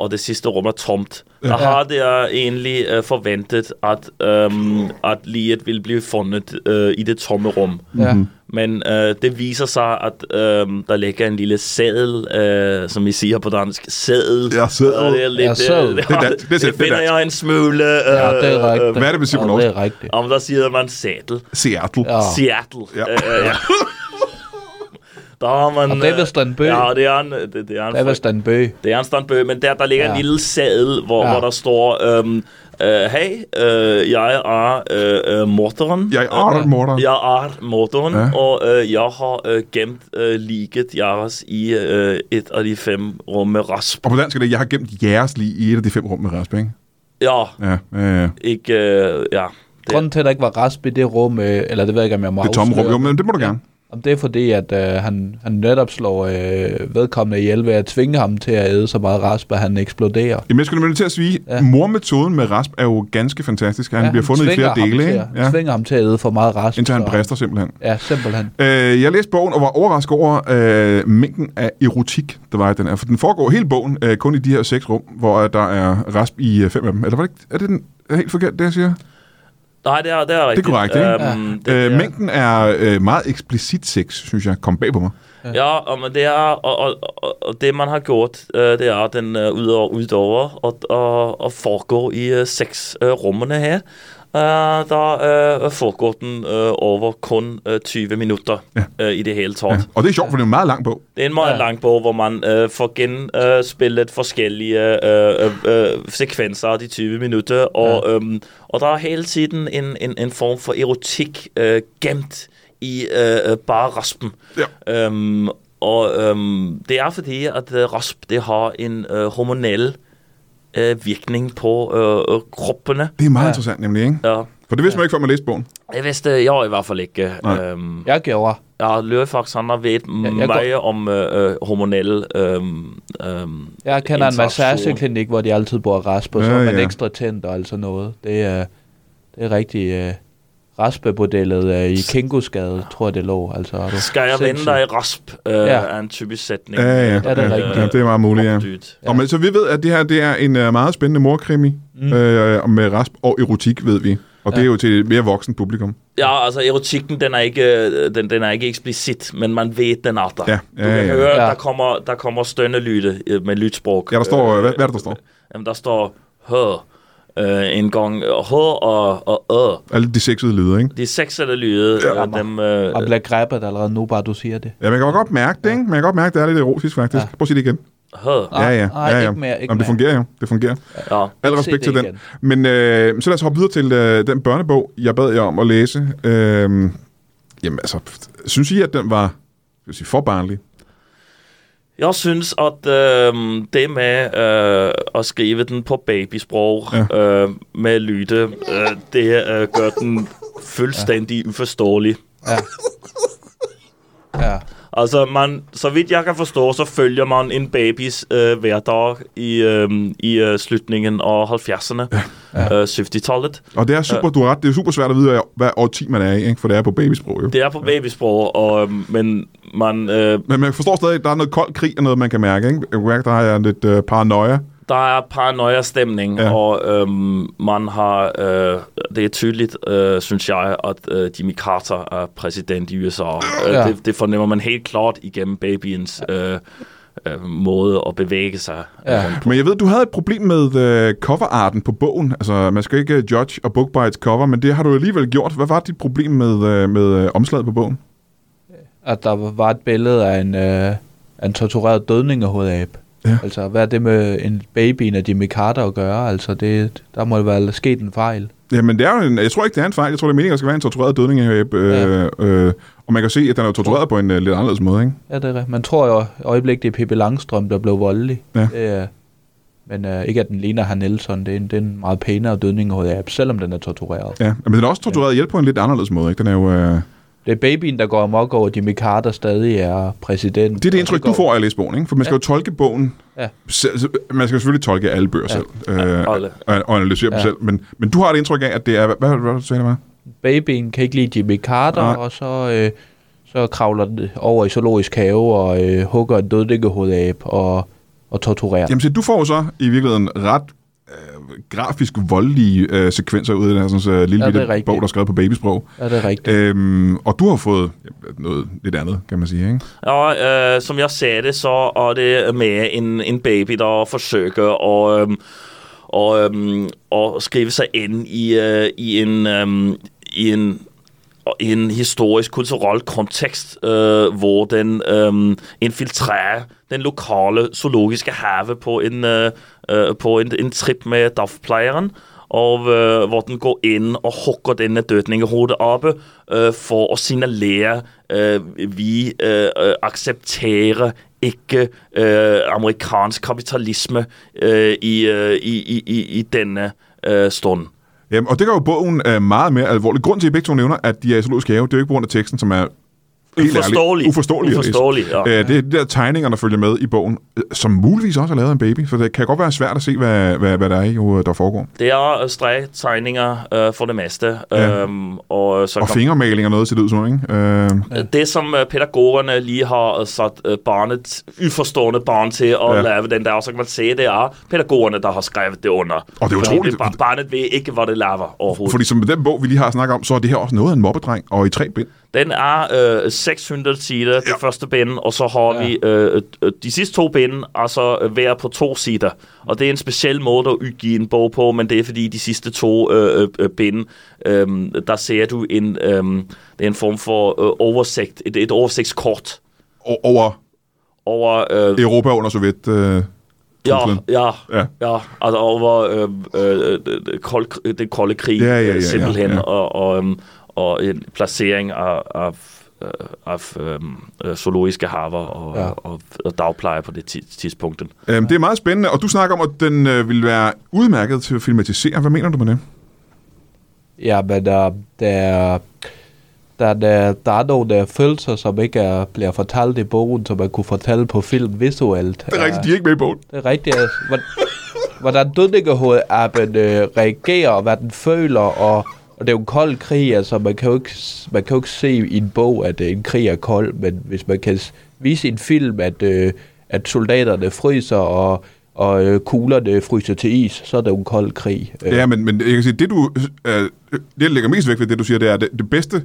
[SPEAKER 2] og det sidste rum er tomt. Der har jeg egentlig øh, forventet, at, øhm, at liget ville blive fundet øh, i det tomme rum.
[SPEAKER 3] Ja.
[SPEAKER 2] Men øh, det viser sig, at øh, der ligger en lille sædel, øh, som vi siger på dansk, sædel.
[SPEAKER 1] Ja, sædel.
[SPEAKER 2] Og det er lidt,
[SPEAKER 3] Ja, sædel.
[SPEAKER 2] Øh, det,
[SPEAKER 1] Det er
[SPEAKER 2] det,
[SPEAKER 1] dansk. Det er
[SPEAKER 2] det,
[SPEAKER 1] sæt-
[SPEAKER 2] det
[SPEAKER 1] det er
[SPEAKER 2] finder
[SPEAKER 1] dansk.
[SPEAKER 2] jeg en smule... Øh,
[SPEAKER 3] Ja, det er rigtigt.
[SPEAKER 1] Hvad er det, man siger på
[SPEAKER 3] Ja,
[SPEAKER 1] norsk?
[SPEAKER 3] Det er rigtigt.
[SPEAKER 2] Om der sidder man sædel.
[SPEAKER 1] Seattle.
[SPEAKER 3] Ja.
[SPEAKER 2] Seattle.
[SPEAKER 1] Ja.
[SPEAKER 2] Ja. Øh, ja. Der har man...
[SPEAKER 3] Og det er
[SPEAKER 2] øh,
[SPEAKER 3] vist en bøg.
[SPEAKER 2] Ja, det er en, det, det er en,
[SPEAKER 3] Det er vist en bøg.
[SPEAKER 2] det er en standbøg, men der, der ligger ja.
[SPEAKER 3] Ja.
[SPEAKER 2] en lille sadel, hvor,
[SPEAKER 3] Ja.
[SPEAKER 2] ja. hvor der står, øhm, øh, hey, øh, jeg er øh, øh, morderen.
[SPEAKER 1] Jeg er morderen.
[SPEAKER 2] Jeg er morderen,
[SPEAKER 1] Ja.
[SPEAKER 2] ja. og øh, jeg har øh, gemt øh, liget jeres i øh, et af de fem rum med rasp.
[SPEAKER 1] Og på dansk er det, jeg har gemt jeres lige i et af de fem rum med rasp, ikke?
[SPEAKER 2] Ja,
[SPEAKER 1] Ja, ja, ja.
[SPEAKER 2] ikke, øh, ja.
[SPEAKER 3] Grunden til, at der ikke var rasp i det rum, øh, eller det ved jeg ikke, om jeg må
[SPEAKER 1] Det tomme rum,
[SPEAKER 3] afsløre,
[SPEAKER 1] jo, men det må du gerne.
[SPEAKER 3] Om det er fordi, at øh, han, han netop slår øh, vedkommende ihjel ved at tvinge ham til at æde så meget rasp, at han eksploderer.
[SPEAKER 1] Jamen, jeg skulle nemlig til at sige, ja.
[SPEAKER 3] Ja.
[SPEAKER 1] mormetoden med rasp er jo ganske fantastisk. Han ja, bliver fundet i
[SPEAKER 3] tvinger
[SPEAKER 1] flere dele,
[SPEAKER 3] ham til,
[SPEAKER 1] ikke?
[SPEAKER 3] at-
[SPEAKER 1] Ja,
[SPEAKER 3] tvinger ham til at æde for meget rasp.
[SPEAKER 1] indtil han
[SPEAKER 3] så-
[SPEAKER 1] brister simpelthen.
[SPEAKER 3] Ja, simpelthen.
[SPEAKER 1] Øh, jeg læste bogen og var overrasket over øh, mængden af erotik, der var i den her. For den foregår hele bogen øh, kun i de her seks rum, hvor øh, der er rasp i øh, fem af dem. Eller var det ikke, er det den, er helt forkert, det jeg siger?
[SPEAKER 2] Nej, det er, det er rigtigt.
[SPEAKER 1] korrekt, ikke?
[SPEAKER 2] Øhm, det,
[SPEAKER 1] Øh,
[SPEAKER 2] er-
[SPEAKER 1] mængden er øh, meget eksplicit sex, synes jeg, kom bag på mig.
[SPEAKER 2] Ja, og, men det er, og, og, og, og det man har gjort, øh, det er, at den øh, udover, udover at, at, at foregår i øh, seks øh, rummene her, øh, der øh, foregår den øh, over kun øh, 20 minutter
[SPEAKER 1] Ja.
[SPEAKER 2] øh, i det hele taget.
[SPEAKER 1] Ja. Og det er sjovt, for det er en meget lang bog.
[SPEAKER 2] Det er en meget ja.
[SPEAKER 3] Ja.
[SPEAKER 2] lang bog, hvor man øh, får genspillet forskellige øh, øh, øh, sekvenser af de 20 minutter, og, ja. øhm, og der er hele tiden en, en, en form for erotik øh, gemt i øh, øh, bare raspen. Ja. Øhm, og øhm, det er fordi, at øh, rasp det har en øh, hormonel øh, virkning på øh, øh, kroppene.
[SPEAKER 1] Det er meget ja.
[SPEAKER 3] Ja.
[SPEAKER 1] interessant nemlig, ikke?
[SPEAKER 2] Ja.
[SPEAKER 1] For det vidste man ikke, før man læste bogen.
[SPEAKER 2] Jeg vidste jeg i hvert fald ikke.
[SPEAKER 1] Nej.
[SPEAKER 2] Øhm,
[SPEAKER 3] Jeg gjorde.
[SPEAKER 2] Ja, Løvefax, han har ved
[SPEAKER 3] jeg
[SPEAKER 2] meget om øh, øh, hormonelle... Øh, øh,
[SPEAKER 3] Jeg kender en
[SPEAKER 2] Interaktion.
[SPEAKER 3] massageklinik, hvor de altid bruger rasp, og så
[SPEAKER 1] Ja,
[SPEAKER 3] ja, man
[SPEAKER 1] ja.
[SPEAKER 3] ekstra tændt og alt sådan noget. Det er, det er rigtig øh, raspebordellet øh, i Kingosgade, tror jeg det lå. Altså, er du
[SPEAKER 2] skal jeg vende
[SPEAKER 3] sindssyg?
[SPEAKER 2] dig i rasp, øh,
[SPEAKER 3] Ja.
[SPEAKER 2] er en typisk sætning. Øh,
[SPEAKER 1] Ja, ja, ja.
[SPEAKER 3] det er rigtigt.
[SPEAKER 1] ja, det er meget muligt, ja.
[SPEAKER 2] Dyrt.
[SPEAKER 1] Ja. Og men, så vi ved, at det her det er en uh, meget spændende morkrimi mm. øh, med rasp og erotik, ved vi. Og ja. det er jo til et mere voksen publikum.
[SPEAKER 2] Ja, altså erotikken, den er ikke, øh, den, den er ikke eksplicit, men man ved, den er der.
[SPEAKER 1] Ja, ja,
[SPEAKER 2] du kan
[SPEAKER 1] ja.
[SPEAKER 2] høre,
[SPEAKER 3] Ja.
[SPEAKER 2] der kommer, der kommer stønnelyde øh, med lydsprog.
[SPEAKER 1] Ja, der står, øh, hvad, hvad er det, der står?
[SPEAKER 2] Jamen, der står H øh, en gang. H og, og Ø.
[SPEAKER 1] Alle de sexede lyder, ikke?
[SPEAKER 2] De seks eller lyde, ja, dem, øh,
[SPEAKER 3] Og bliver grebet allerede nu, bare du siger det.
[SPEAKER 1] Ja, man kan godt mærke det, ikke? Man kan godt mærke, at det er lidt erotisk, faktisk. Ja.
[SPEAKER 3] Ja.
[SPEAKER 1] Prøv at sige det igen.
[SPEAKER 2] H.
[SPEAKER 1] ja,
[SPEAKER 3] Nej,
[SPEAKER 1] ja.
[SPEAKER 3] nej,
[SPEAKER 1] ja, ja.
[SPEAKER 3] ikke mere, ikke
[SPEAKER 1] Jamen, det
[SPEAKER 3] mere.
[SPEAKER 1] fungerer jo. Det fungerer.
[SPEAKER 2] Ja.
[SPEAKER 1] Al
[SPEAKER 3] Se
[SPEAKER 1] respekt
[SPEAKER 3] det
[SPEAKER 1] til den.
[SPEAKER 3] igen.
[SPEAKER 1] Men øh, så lad os hoppe videre til øh, den børnebog, jeg bad jer om at læse. Øh, jamen altså, pff, synes I, at den var skal jeg sige, for barnlig?
[SPEAKER 2] Jeg synes, at øh, det med øh, at skrive den på babysprog ja. øh, med lyde, øh, det øh, gør den fuldstændig ja. uforståelig.
[SPEAKER 3] Ja.
[SPEAKER 2] Altså, man, så vidt jeg kan forstå, så følger man en babys øh, hverdag i, øh, i øh, slutningen af 70'erne, ja. øh, 70-tallet.
[SPEAKER 1] Og det er super, du har ret, det er super svært at vide, hvad- hvad årti man er i, ikke? for det er på babysprog jo.
[SPEAKER 2] Det er på babysprog, og, øh, men man, øh,
[SPEAKER 1] Men man forstår stadig, at der er noget kold krig og noget, man kan mærke. Ikke? Jeg kan mærke, der er lidt øh, paranoia.
[SPEAKER 2] der er paranoia-stemning,
[SPEAKER 1] Ja.
[SPEAKER 2] ja. og øhm, man har, øh, det er tydeligt, øh, synes jeg, at øh, Jimmy Carter er præsident i USA. Øh,
[SPEAKER 3] Ah. Ja.
[SPEAKER 2] det, det fornemmer man helt klart igennem babyens øh, øh, måde at bevæge sig. øh,
[SPEAKER 3] Ja.
[SPEAKER 1] Men jeg ved, du havde et problem med øh, coverarten på bogen. Altså, man skal ikke øh, judge og book by its cover, men det har du alligevel gjort. Hvad var dit problem med, øh, med øh, omslaget på bogen?
[SPEAKER 3] At der var et billede af en, øh, af en tortureret dødningehovedabe.
[SPEAKER 1] Ja.
[SPEAKER 3] Altså, hvad er det med en baby en af Jimmy Carter at gøre? Altså, det, der må være sket en fejl.
[SPEAKER 1] Jamen, det er jo en, jeg tror ikke, det er en fejl. Jeg tror, det er meningen, at der skal være en tortureret dødning. Øh, øh, øh, og man kan se, at den er jo tortureret på en øh, lidt anderledes måde, ikke?
[SPEAKER 3] Ja, det er, rigtigt. man tror jo i øjeblikket, det er Pippi Langstrøm, der blev voldelig.
[SPEAKER 1] Ja.
[SPEAKER 3] Det er, men øh, ikke at den ligner her Nelson, det er en, det er en meget pænere dødning af, selvom den er tortureret.
[SPEAKER 1] Ja, men den er også tortureret ihjel på en lidt anderledes måde, ikke? Den er jo... Øh,
[SPEAKER 3] Det er babyen, der går amok over, at Jimmy Carter stadig er præsident.
[SPEAKER 1] Det er det
[SPEAKER 3] Og
[SPEAKER 1] indtryk,
[SPEAKER 3] går-
[SPEAKER 1] du får af at læse bogen, ikke? For man skal ja. jo tolke bogen. Ja.
[SPEAKER 3] Ja.
[SPEAKER 1] Selv, så- man skal jo selvfølgelig tolke alle bøger ja. selv. Øh,
[SPEAKER 2] alle.
[SPEAKER 1] og- og analysere ja. dem
[SPEAKER 3] Ja.
[SPEAKER 1] selv. Men, men du har et indtryk af, at det er... Hvad, hvad, hvad du sagde, det var?
[SPEAKER 3] Babyen kan ikke lide Jimmy Carter,
[SPEAKER 1] Nej.
[SPEAKER 3] og så, øh, så kravler den over i zoologisk have og øh, hugger en dødningehovedab og, og torturerer.
[SPEAKER 1] Jamen se, du får jo så i virkeligheden ret øh, grafisk voldelige øh, sekvenser ud af den her sådan, så lille
[SPEAKER 3] Ja, det er
[SPEAKER 1] bitte
[SPEAKER 3] rigtigt.
[SPEAKER 1] bog, der er skrevet på babysprog.
[SPEAKER 3] Er det rigtigt?
[SPEAKER 1] Øhm, og du har fået ja, noget lidt andet, kan man sige, ikke?
[SPEAKER 2] Ja, øh, som jeg sagde det, så er det med en, en baby, der forsøger at, øhm, og, øhm, at skrive sig ind i, øh, i, en, øhm, i, en, og i en historisk, kulturel kontekst, øh, hvor den øhm, infiltrerer den lokale zoologiske have på en, øh, øh, på en, en trip med dagplejeren, og øh, hvor den går ind og hugger denne dødning i hovedet oppe, øh, for at signalere, øh, vi øh, øh, accepterer ikke øh, eh, amerikansk kapitalisme øh, i, øh, i, i, i, i denne øh, stund.
[SPEAKER 1] Øhm, og det gør jo bogen øh, meget mere alvorlig. Grunden til, at I begge to nævner, at de er i zoologisk have, det er jo ikke på grund af teksten, som er helt ærlig,
[SPEAKER 2] Uforståelig.
[SPEAKER 1] uforståelig. at læse.
[SPEAKER 2] Uforståelig, ja.
[SPEAKER 1] Øh, det er de der tegninger, der følger med i bogen, øh, som muligvis også er lavet af en baby, så det kan godt være svært at se, hvad, hvad, hvad der er i, øh, der foregår.
[SPEAKER 2] Det er øh, stregtegninger øh, for det meste.
[SPEAKER 1] Ja.
[SPEAKER 2] Ja. Øhm, og øh, så
[SPEAKER 1] Og
[SPEAKER 2] kom-
[SPEAKER 1] fingermaling og noget, ser det ud som, ikke? Øh,
[SPEAKER 2] Øh, Det, som øh, pædagogerne lige har øh, sat øh, barnet, uforstående barn til at
[SPEAKER 1] Ja.
[SPEAKER 2] ja. lave den der, og så kan man se, det er pædagogerne, der har skrevet det under.
[SPEAKER 1] Og det er
[SPEAKER 2] Fordi
[SPEAKER 1] utroligt.
[SPEAKER 2] Det, bar- barnet ved ikke, hvad det laver overhovedet. Fordi...
[SPEAKER 1] fordi som den bog, vi lige har snakket om, så er det her også noget af en mobbedreng, og i tre bind.
[SPEAKER 2] Den er øh, 600 sider, det første bind, og så har
[SPEAKER 3] Ja.
[SPEAKER 2] ja. vi øh, øh, de sidste to binde, altså øh, hver på to sider. Og det er en speciel måde at udgive en bog på, men det er fordi de sidste to øh, øh, øh, binde, øh, der ser du en, øh, det er en form for øh, oversigt, et, et oversigtskort
[SPEAKER 1] O- over
[SPEAKER 2] over øh,
[SPEAKER 1] Europa under Sovjet. Øh,
[SPEAKER 2] Ja,
[SPEAKER 1] truslen.
[SPEAKER 2] ja,
[SPEAKER 1] Ja.
[SPEAKER 2] ja, ja. Altså over øh, øh, øh, kold, den kolde krig,
[SPEAKER 1] Ja, ja, ja,
[SPEAKER 2] øh, simpelthen,
[SPEAKER 1] ja, ja.
[SPEAKER 2] og, og, øhm, og en placering af, af, øh, af øhm, øh, zoologiske haver og,
[SPEAKER 3] Ja.
[SPEAKER 2] ja. og, og dagpleje på det ti- tidspunkt.
[SPEAKER 1] Øhm, det er meget spændende, og du snakker om, at den øh, vil være udmærket til at filmatisere. Hvad mener du med det?
[SPEAKER 3] Ja, men øh, der, der, der, der, der er nogle øh, følelser, som ikke er, bliver fortalt i bogen, som man kunne fortælle på film visuelt.
[SPEAKER 1] Det er rigtigt, de er ikke med i bogen.
[SPEAKER 3] Det er rigtigt. Altså, hvordan, hvordan dødningehovedappen øh, reagerer, og hvad den føler, og, og det er jo en kold krig, altså man kan jo ikke, s- man kan jo ikke se i en bog, at øh, en krig er kold, men hvis man kan s- vise i en film, at, øh, at soldaterne fryser, og, og øh, kuglerne fryser til is, så er det jo en kold krig. Øh,
[SPEAKER 1] Ja, men, men jeg kan sige, det du øh, det, jeg lægger mest vægt ved, det du siger, det er, at det, det bedste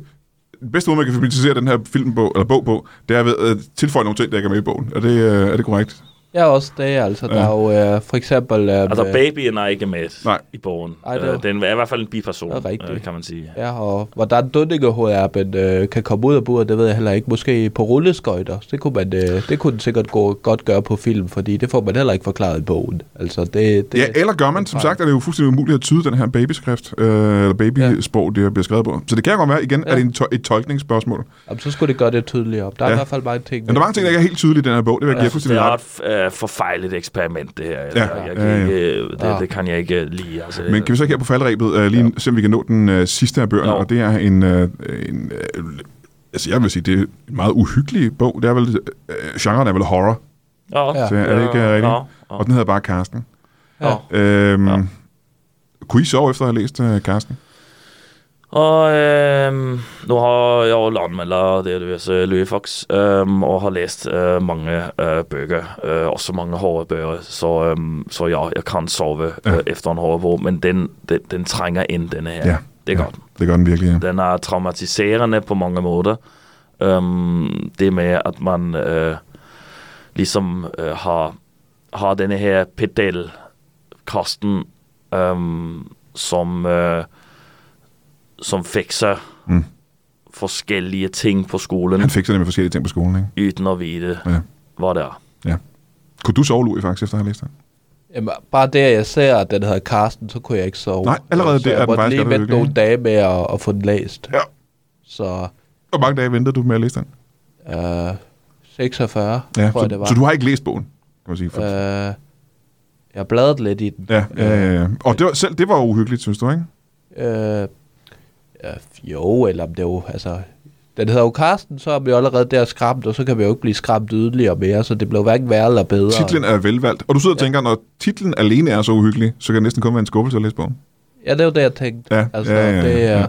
[SPEAKER 1] den bedste måde, man kan filmatisere den her film på, eller bog på, det er ved at tilføje nogle ting, der ikke er med i bogen. Er det, øh, er det korrekt?
[SPEAKER 3] Ja, også det, altså. Der er jo øh, for eksempel... Øh,
[SPEAKER 2] Altså babyen er ikke med
[SPEAKER 1] Nej.
[SPEAKER 2] i bogen.
[SPEAKER 3] Ej, det
[SPEAKER 2] Øh,
[SPEAKER 3] var-
[SPEAKER 2] Den er i hvert fald en biperson,
[SPEAKER 3] Det er rigtigt.
[SPEAKER 2] øh, kan man sige.
[SPEAKER 3] Ja, og hvordan Dunningehovedappen øh, kan komme ud af buret, det ved jeg heller ikke. Måske på rulleskøjter. Det kunne, man, øh, det kunne den sikkert gå, godt gøre på film, fordi det får man heller ikke forklaret i bogen. Altså, det, det,
[SPEAKER 1] Ja, øh. eller gør man, som sagt, er det jo fuldstændig umuligt at tyde den her babyskrift, øh, eller babysprog, det bliver skrevet på. Så det kan godt være, igen, ja. er det en to- et tolkningsspørgsmål.
[SPEAKER 3] jamen, så skulle det gøre det tydeligere op. Der er
[SPEAKER 1] Ja.
[SPEAKER 3] i hvert fald mange ting.
[SPEAKER 1] Men der er mange ting, der ikke er helt tydelige i den her bog, det vil jeg give jer
[SPEAKER 2] Det
[SPEAKER 1] fuldstændig
[SPEAKER 2] er
[SPEAKER 1] ret.
[SPEAKER 2] et øh, forfejlet eksperiment, det her. Ja. Jeg kan
[SPEAKER 1] Ja, ja.
[SPEAKER 2] ikke, øh, det,
[SPEAKER 3] Ja.
[SPEAKER 2] det kan jeg ikke lide. Altså,
[SPEAKER 1] Men kan vi så ikke her på faldrebet øh, lige ja. se, om vi kan nå den øh, sidste af bøgerne,
[SPEAKER 2] Jo.
[SPEAKER 1] og det er en, øh, en øh, altså jeg vil sige, det er en meget uhyggelig bog. Det er vel, øh, genren er vel horror,
[SPEAKER 2] ja.
[SPEAKER 3] Ja.
[SPEAKER 1] så er det ikke øh, rigtigt?
[SPEAKER 2] Ja, ja.
[SPEAKER 1] Og den hedder bare Karsten.
[SPEAKER 2] ja.
[SPEAKER 1] Øhm,
[SPEAKER 2] Ja.
[SPEAKER 1] Kunne I sove efter at have læst øh, Karsten?
[SPEAKER 2] Og øhm, nu har jeg jo anmelder delvis øh, Louis Fox, øhm, og har læst øh, mange øh, bøger, øh, også mange hårde bøger, så, øhm, så ja, jeg kan sove øh,
[SPEAKER 1] Ja.
[SPEAKER 2] efter en hård bog, men den, den, den trænger ind, denne her.
[SPEAKER 1] Ja.
[SPEAKER 2] Det er
[SPEAKER 1] Ja.
[SPEAKER 2] godt.
[SPEAKER 1] Det gør den virkelig, ja.
[SPEAKER 2] Den er traumatiserende på mange måder. Øhm, det med, at man øh, ligesom øh, har, har denne her pedalkasten, øhm, som, øh, som fikser
[SPEAKER 1] Mm.
[SPEAKER 2] mm. forskellige ting på skolen,
[SPEAKER 1] Han fikser det med forskellige ting på skolen, ikke?
[SPEAKER 2] uden at vide,
[SPEAKER 1] Ja.
[SPEAKER 2] hvor det er.
[SPEAKER 1] Kunne du sove, Louis, faktisk, efter at have læst den?
[SPEAKER 3] Jamen, bare det, at jeg ser, at den hedder Karsten, så kunne jeg ikke sove.
[SPEAKER 1] Nej, allerede
[SPEAKER 3] så
[SPEAKER 1] det er
[SPEAKER 3] jeg
[SPEAKER 1] den
[SPEAKER 3] måtte
[SPEAKER 1] faktisk
[SPEAKER 3] lige
[SPEAKER 1] godt
[SPEAKER 3] vente
[SPEAKER 1] uhyggelig,
[SPEAKER 3] nogle
[SPEAKER 1] ikke?
[SPEAKER 3] dage med at, at få den læst.
[SPEAKER 1] Ja.
[SPEAKER 3] Så
[SPEAKER 1] Hvor mange dage ventede du med at læse den?
[SPEAKER 3] øh, 46,
[SPEAKER 1] Ja,
[SPEAKER 3] tror
[SPEAKER 1] så,
[SPEAKER 3] jeg, det var.
[SPEAKER 1] så du har ikke læst bogen, kan man sige. For, øh,
[SPEAKER 3] øh, jeg bladrede lidt i den.
[SPEAKER 1] ja, ja, ja,
[SPEAKER 2] øh,
[SPEAKER 1] ja. Og det var, selv det var jo uhyggeligt, synes du, ikke?
[SPEAKER 3] Øh, ja, jo, eller om det er jo, altså... Den hedder jo Karsten, så er vi jo allerede der skræmt, og så kan vi jo ikke blive skræmt yderligere mere, så det blev hverken værre eller bedre.
[SPEAKER 1] Titlen er velvalgt. Og du sidder og tænker, når titlen alene er så uhyggelig, så kan det næsten kun være en skuffelse at læse bogen.
[SPEAKER 3] Ja, det er jo det, jeg tænkte.
[SPEAKER 1] Ja,
[SPEAKER 3] altså,
[SPEAKER 1] ja, ja, ja,
[SPEAKER 3] det, er,
[SPEAKER 1] ja.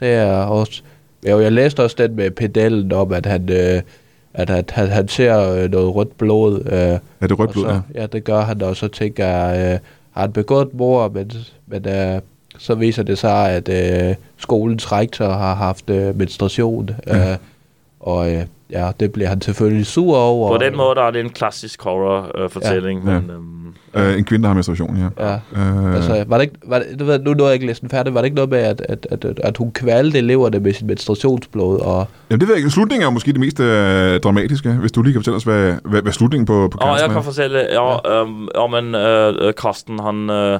[SPEAKER 3] det er også... Jo, jeg læste også den med pedellen om, at han, øh, at, at han, han ser øh, noget rødt blod. Øh,
[SPEAKER 1] Ja, det er rødt blod,
[SPEAKER 3] og så,
[SPEAKER 2] Altså,
[SPEAKER 1] ja.
[SPEAKER 3] ja, det gør han, og så tænker jeg, øh, har han begået mor, men, men øh, så viser det sig, at øh, skolens rektor har haft øh, menstruation, øh, og øh, ja, det bliver han selvfølgelig sur over.
[SPEAKER 2] På den måde er det en klassisk horror-fortælling,
[SPEAKER 1] Ja.
[SPEAKER 2] men... Øhm,
[SPEAKER 1] Øh, en kvinde, der har menstruation, ja.
[SPEAKER 3] Ja.
[SPEAKER 1] Øh,
[SPEAKER 3] Altså, var det ikke, var det, du ved, nu nåede jeg ikke læst den færdig, var det ikke noget med, at, at, at, at hun kvalte eleverne med sit menstruationsblod, og
[SPEAKER 1] Jamen, det ved jeg ikke. Slutningen er måske det mest øh, dramatiske, hvis du lige kan fortælle os, hvad, hvad, hvad slutningen på, på
[SPEAKER 2] Ja,
[SPEAKER 1] Carsten
[SPEAKER 2] jeg kan
[SPEAKER 1] er.
[SPEAKER 2] fortælle. Ja, øhm, ja men øh, Karsten, han... Øh,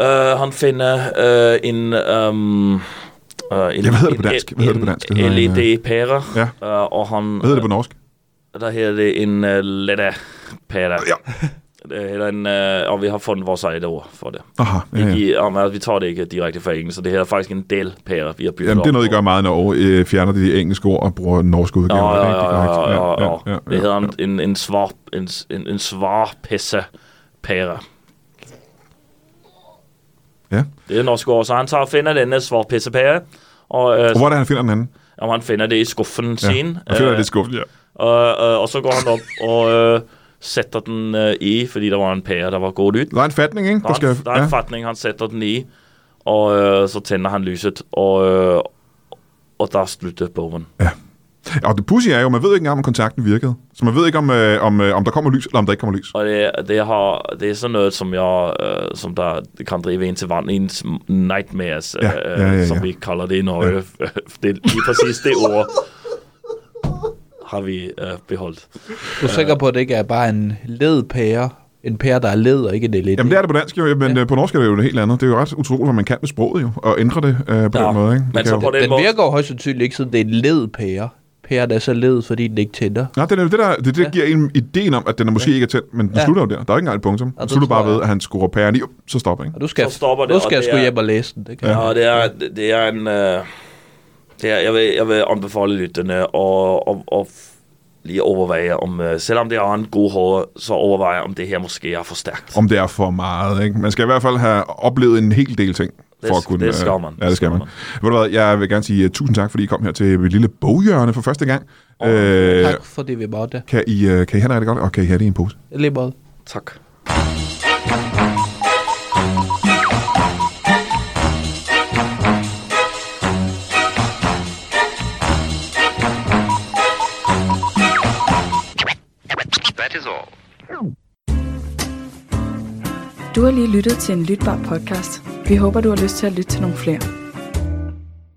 [SPEAKER 2] øh, han finder øh, en... øhm, øh, en
[SPEAKER 1] Ja, hvad hedder det på dansk? Hvad hedder det på dansk? Det hedder en, øh,
[SPEAKER 2] LED-pære.
[SPEAKER 1] Ja.
[SPEAKER 2] Øh, og han...
[SPEAKER 1] Hvad hedder det på norsk?
[SPEAKER 2] Der hedder øh, det en uh, letta pære.
[SPEAKER 1] Ja.
[SPEAKER 2] øh, eller en, øh, og vi har fundet vores eget ord for det.
[SPEAKER 1] Aha, ja,
[SPEAKER 2] Ja.
[SPEAKER 1] ja.
[SPEAKER 2] Ikke, i- om, at vi tager det ikke direkte fra engelsk, så det her er faktisk en del pære, vi har bygget
[SPEAKER 1] Jamen, det er
[SPEAKER 2] op
[SPEAKER 1] noget, I
[SPEAKER 2] på.
[SPEAKER 1] gør meget, når øh, fjerner de engelske ord og bruger norske udgaver.
[SPEAKER 2] Ja, ja,
[SPEAKER 1] Rigtig
[SPEAKER 2] ja,
[SPEAKER 1] korrekt.
[SPEAKER 2] ja, ja, ja, ja, Det hedder
[SPEAKER 1] ja.
[SPEAKER 2] en, en, en svar, en, en, en svarpisse pære.
[SPEAKER 1] Ja.
[SPEAKER 2] Det er norsk ord, så han tager og finder denne svarpisse pære, og, øh,
[SPEAKER 1] Og hvor er det, han finder den anden?
[SPEAKER 2] og han finder det i skuffen sin. øh,
[SPEAKER 1] Jeg føler, at det er skuffet, ja.
[SPEAKER 2] og, øh, og så går han op og øh, sætter den øh, i, fordi der var en pære, der var gået ud.
[SPEAKER 1] Der er en fatning, ikke?
[SPEAKER 2] Der er, en, der er en
[SPEAKER 1] ja.
[SPEAKER 2] fatning, han sætter den i, og øh, så tænder han lyset, og, øh, og der slutter bogen.
[SPEAKER 1] Og det pussy er jo, man ved ikke engang, om kontakten virkede. Så man ved ikke, om, øh, om, øh, om der kommer lys, eller om der ikke kommer lys.
[SPEAKER 2] Og det, det, har, det er sådan noget, som, jeg, øh, som der kan drive en til vand, ens nightmares, øh,
[SPEAKER 1] Ja, ja, ja, ja.
[SPEAKER 2] som vi kalder det i Norge. det er lige præcis det ord, har vi øh, beholdt.
[SPEAKER 4] Du er sikker på, at det ikke er bare en led pære? En pære, der er led, og ikke en elit?
[SPEAKER 1] Jamen, det er det på dansk, jo, men ja. på norsk er det jo noget helt andet. Det er jo ret utroligt, hvad man kan med sproget, jo, og ændre det øh, på
[SPEAKER 2] Ja,
[SPEAKER 1] den måde, ikke?
[SPEAKER 2] men
[SPEAKER 1] Det kan
[SPEAKER 2] så
[SPEAKER 1] jo-
[SPEAKER 2] på den
[SPEAKER 4] den
[SPEAKER 2] måde-
[SPEAKER 4] virker jo højst sandsynligt ikke, siden det er en led pære. Pære, der er så led, fordi den ikke tænder.
[SPEAKER 1] Nej, det er jo det, der, det, er det der ja. giver en ideen om, at den er måske ja. ikke er tændt, men den ja.
[SPEAKER 4] Ja.
[SPEAKER 1] slutter jo der. Der er jo ikke engang et punktum. Den
[SPEAKER 4] det
[SPEAKER 1] slutter bare
[SPEAKER 4] tror jeg.
[SPEAKER 1] ved, at han skruer pæren i, op, så stopper, ikke?
[SPEAKER 4] Og du skal,
[SPEAKER 2] Så stopper det,
[SPEAKER 4] nu
[SPEAKER 2] og
[SPEAKER 4] skal jeg
[SPEAKER 2] det
[SPEAKER 4] sgu
[SPEAKER 2] er-
[SPEAKER 4] hjem og læse den. Det kan
[SPEAKER 2] Ja,
[SPEAKER 4] jeg.
[SPEAKER 2] og det er, det det er en... Øh, det er, jeg, vil, jeg vil anbefale lytterne og, og, og lige overveje, om øh, selvom det er en god hård, så overveje, om det her måske er for stærkt.
[SPEAKER 1] Om det er for meget, ikke? Man skal i hvert fald have oplevet en hel del ting, for
[SPEAKER 2] Det-
[SPEAKER 1] at kunne...
[SPEAKER 2] det skal
[SPEAKER 1] øh,
[SPEAKER 2] man.
[SPEAKER 1] Ja, det skal man. Ved du hvad, jeg vil gerne sige uh, tusind tak, fordi I kom her til mit lille boghjørne for første gang. Oh, øh,
[SPEAKER 4] Tak fordi vi måtte.
[SPEAKER 1] kan, I, uh, kan I have det rigtig godt, og kan I have det i en pose?
[SPEAKER 4] I Lige måde.
[SPEAKER 2] Tak.
[SPEAKER 5] That is all.
[SPEAKER 6] Du har lige lyttet til en lytbar podcast. Vi håber, du har lyst til at lytte til nogle flere.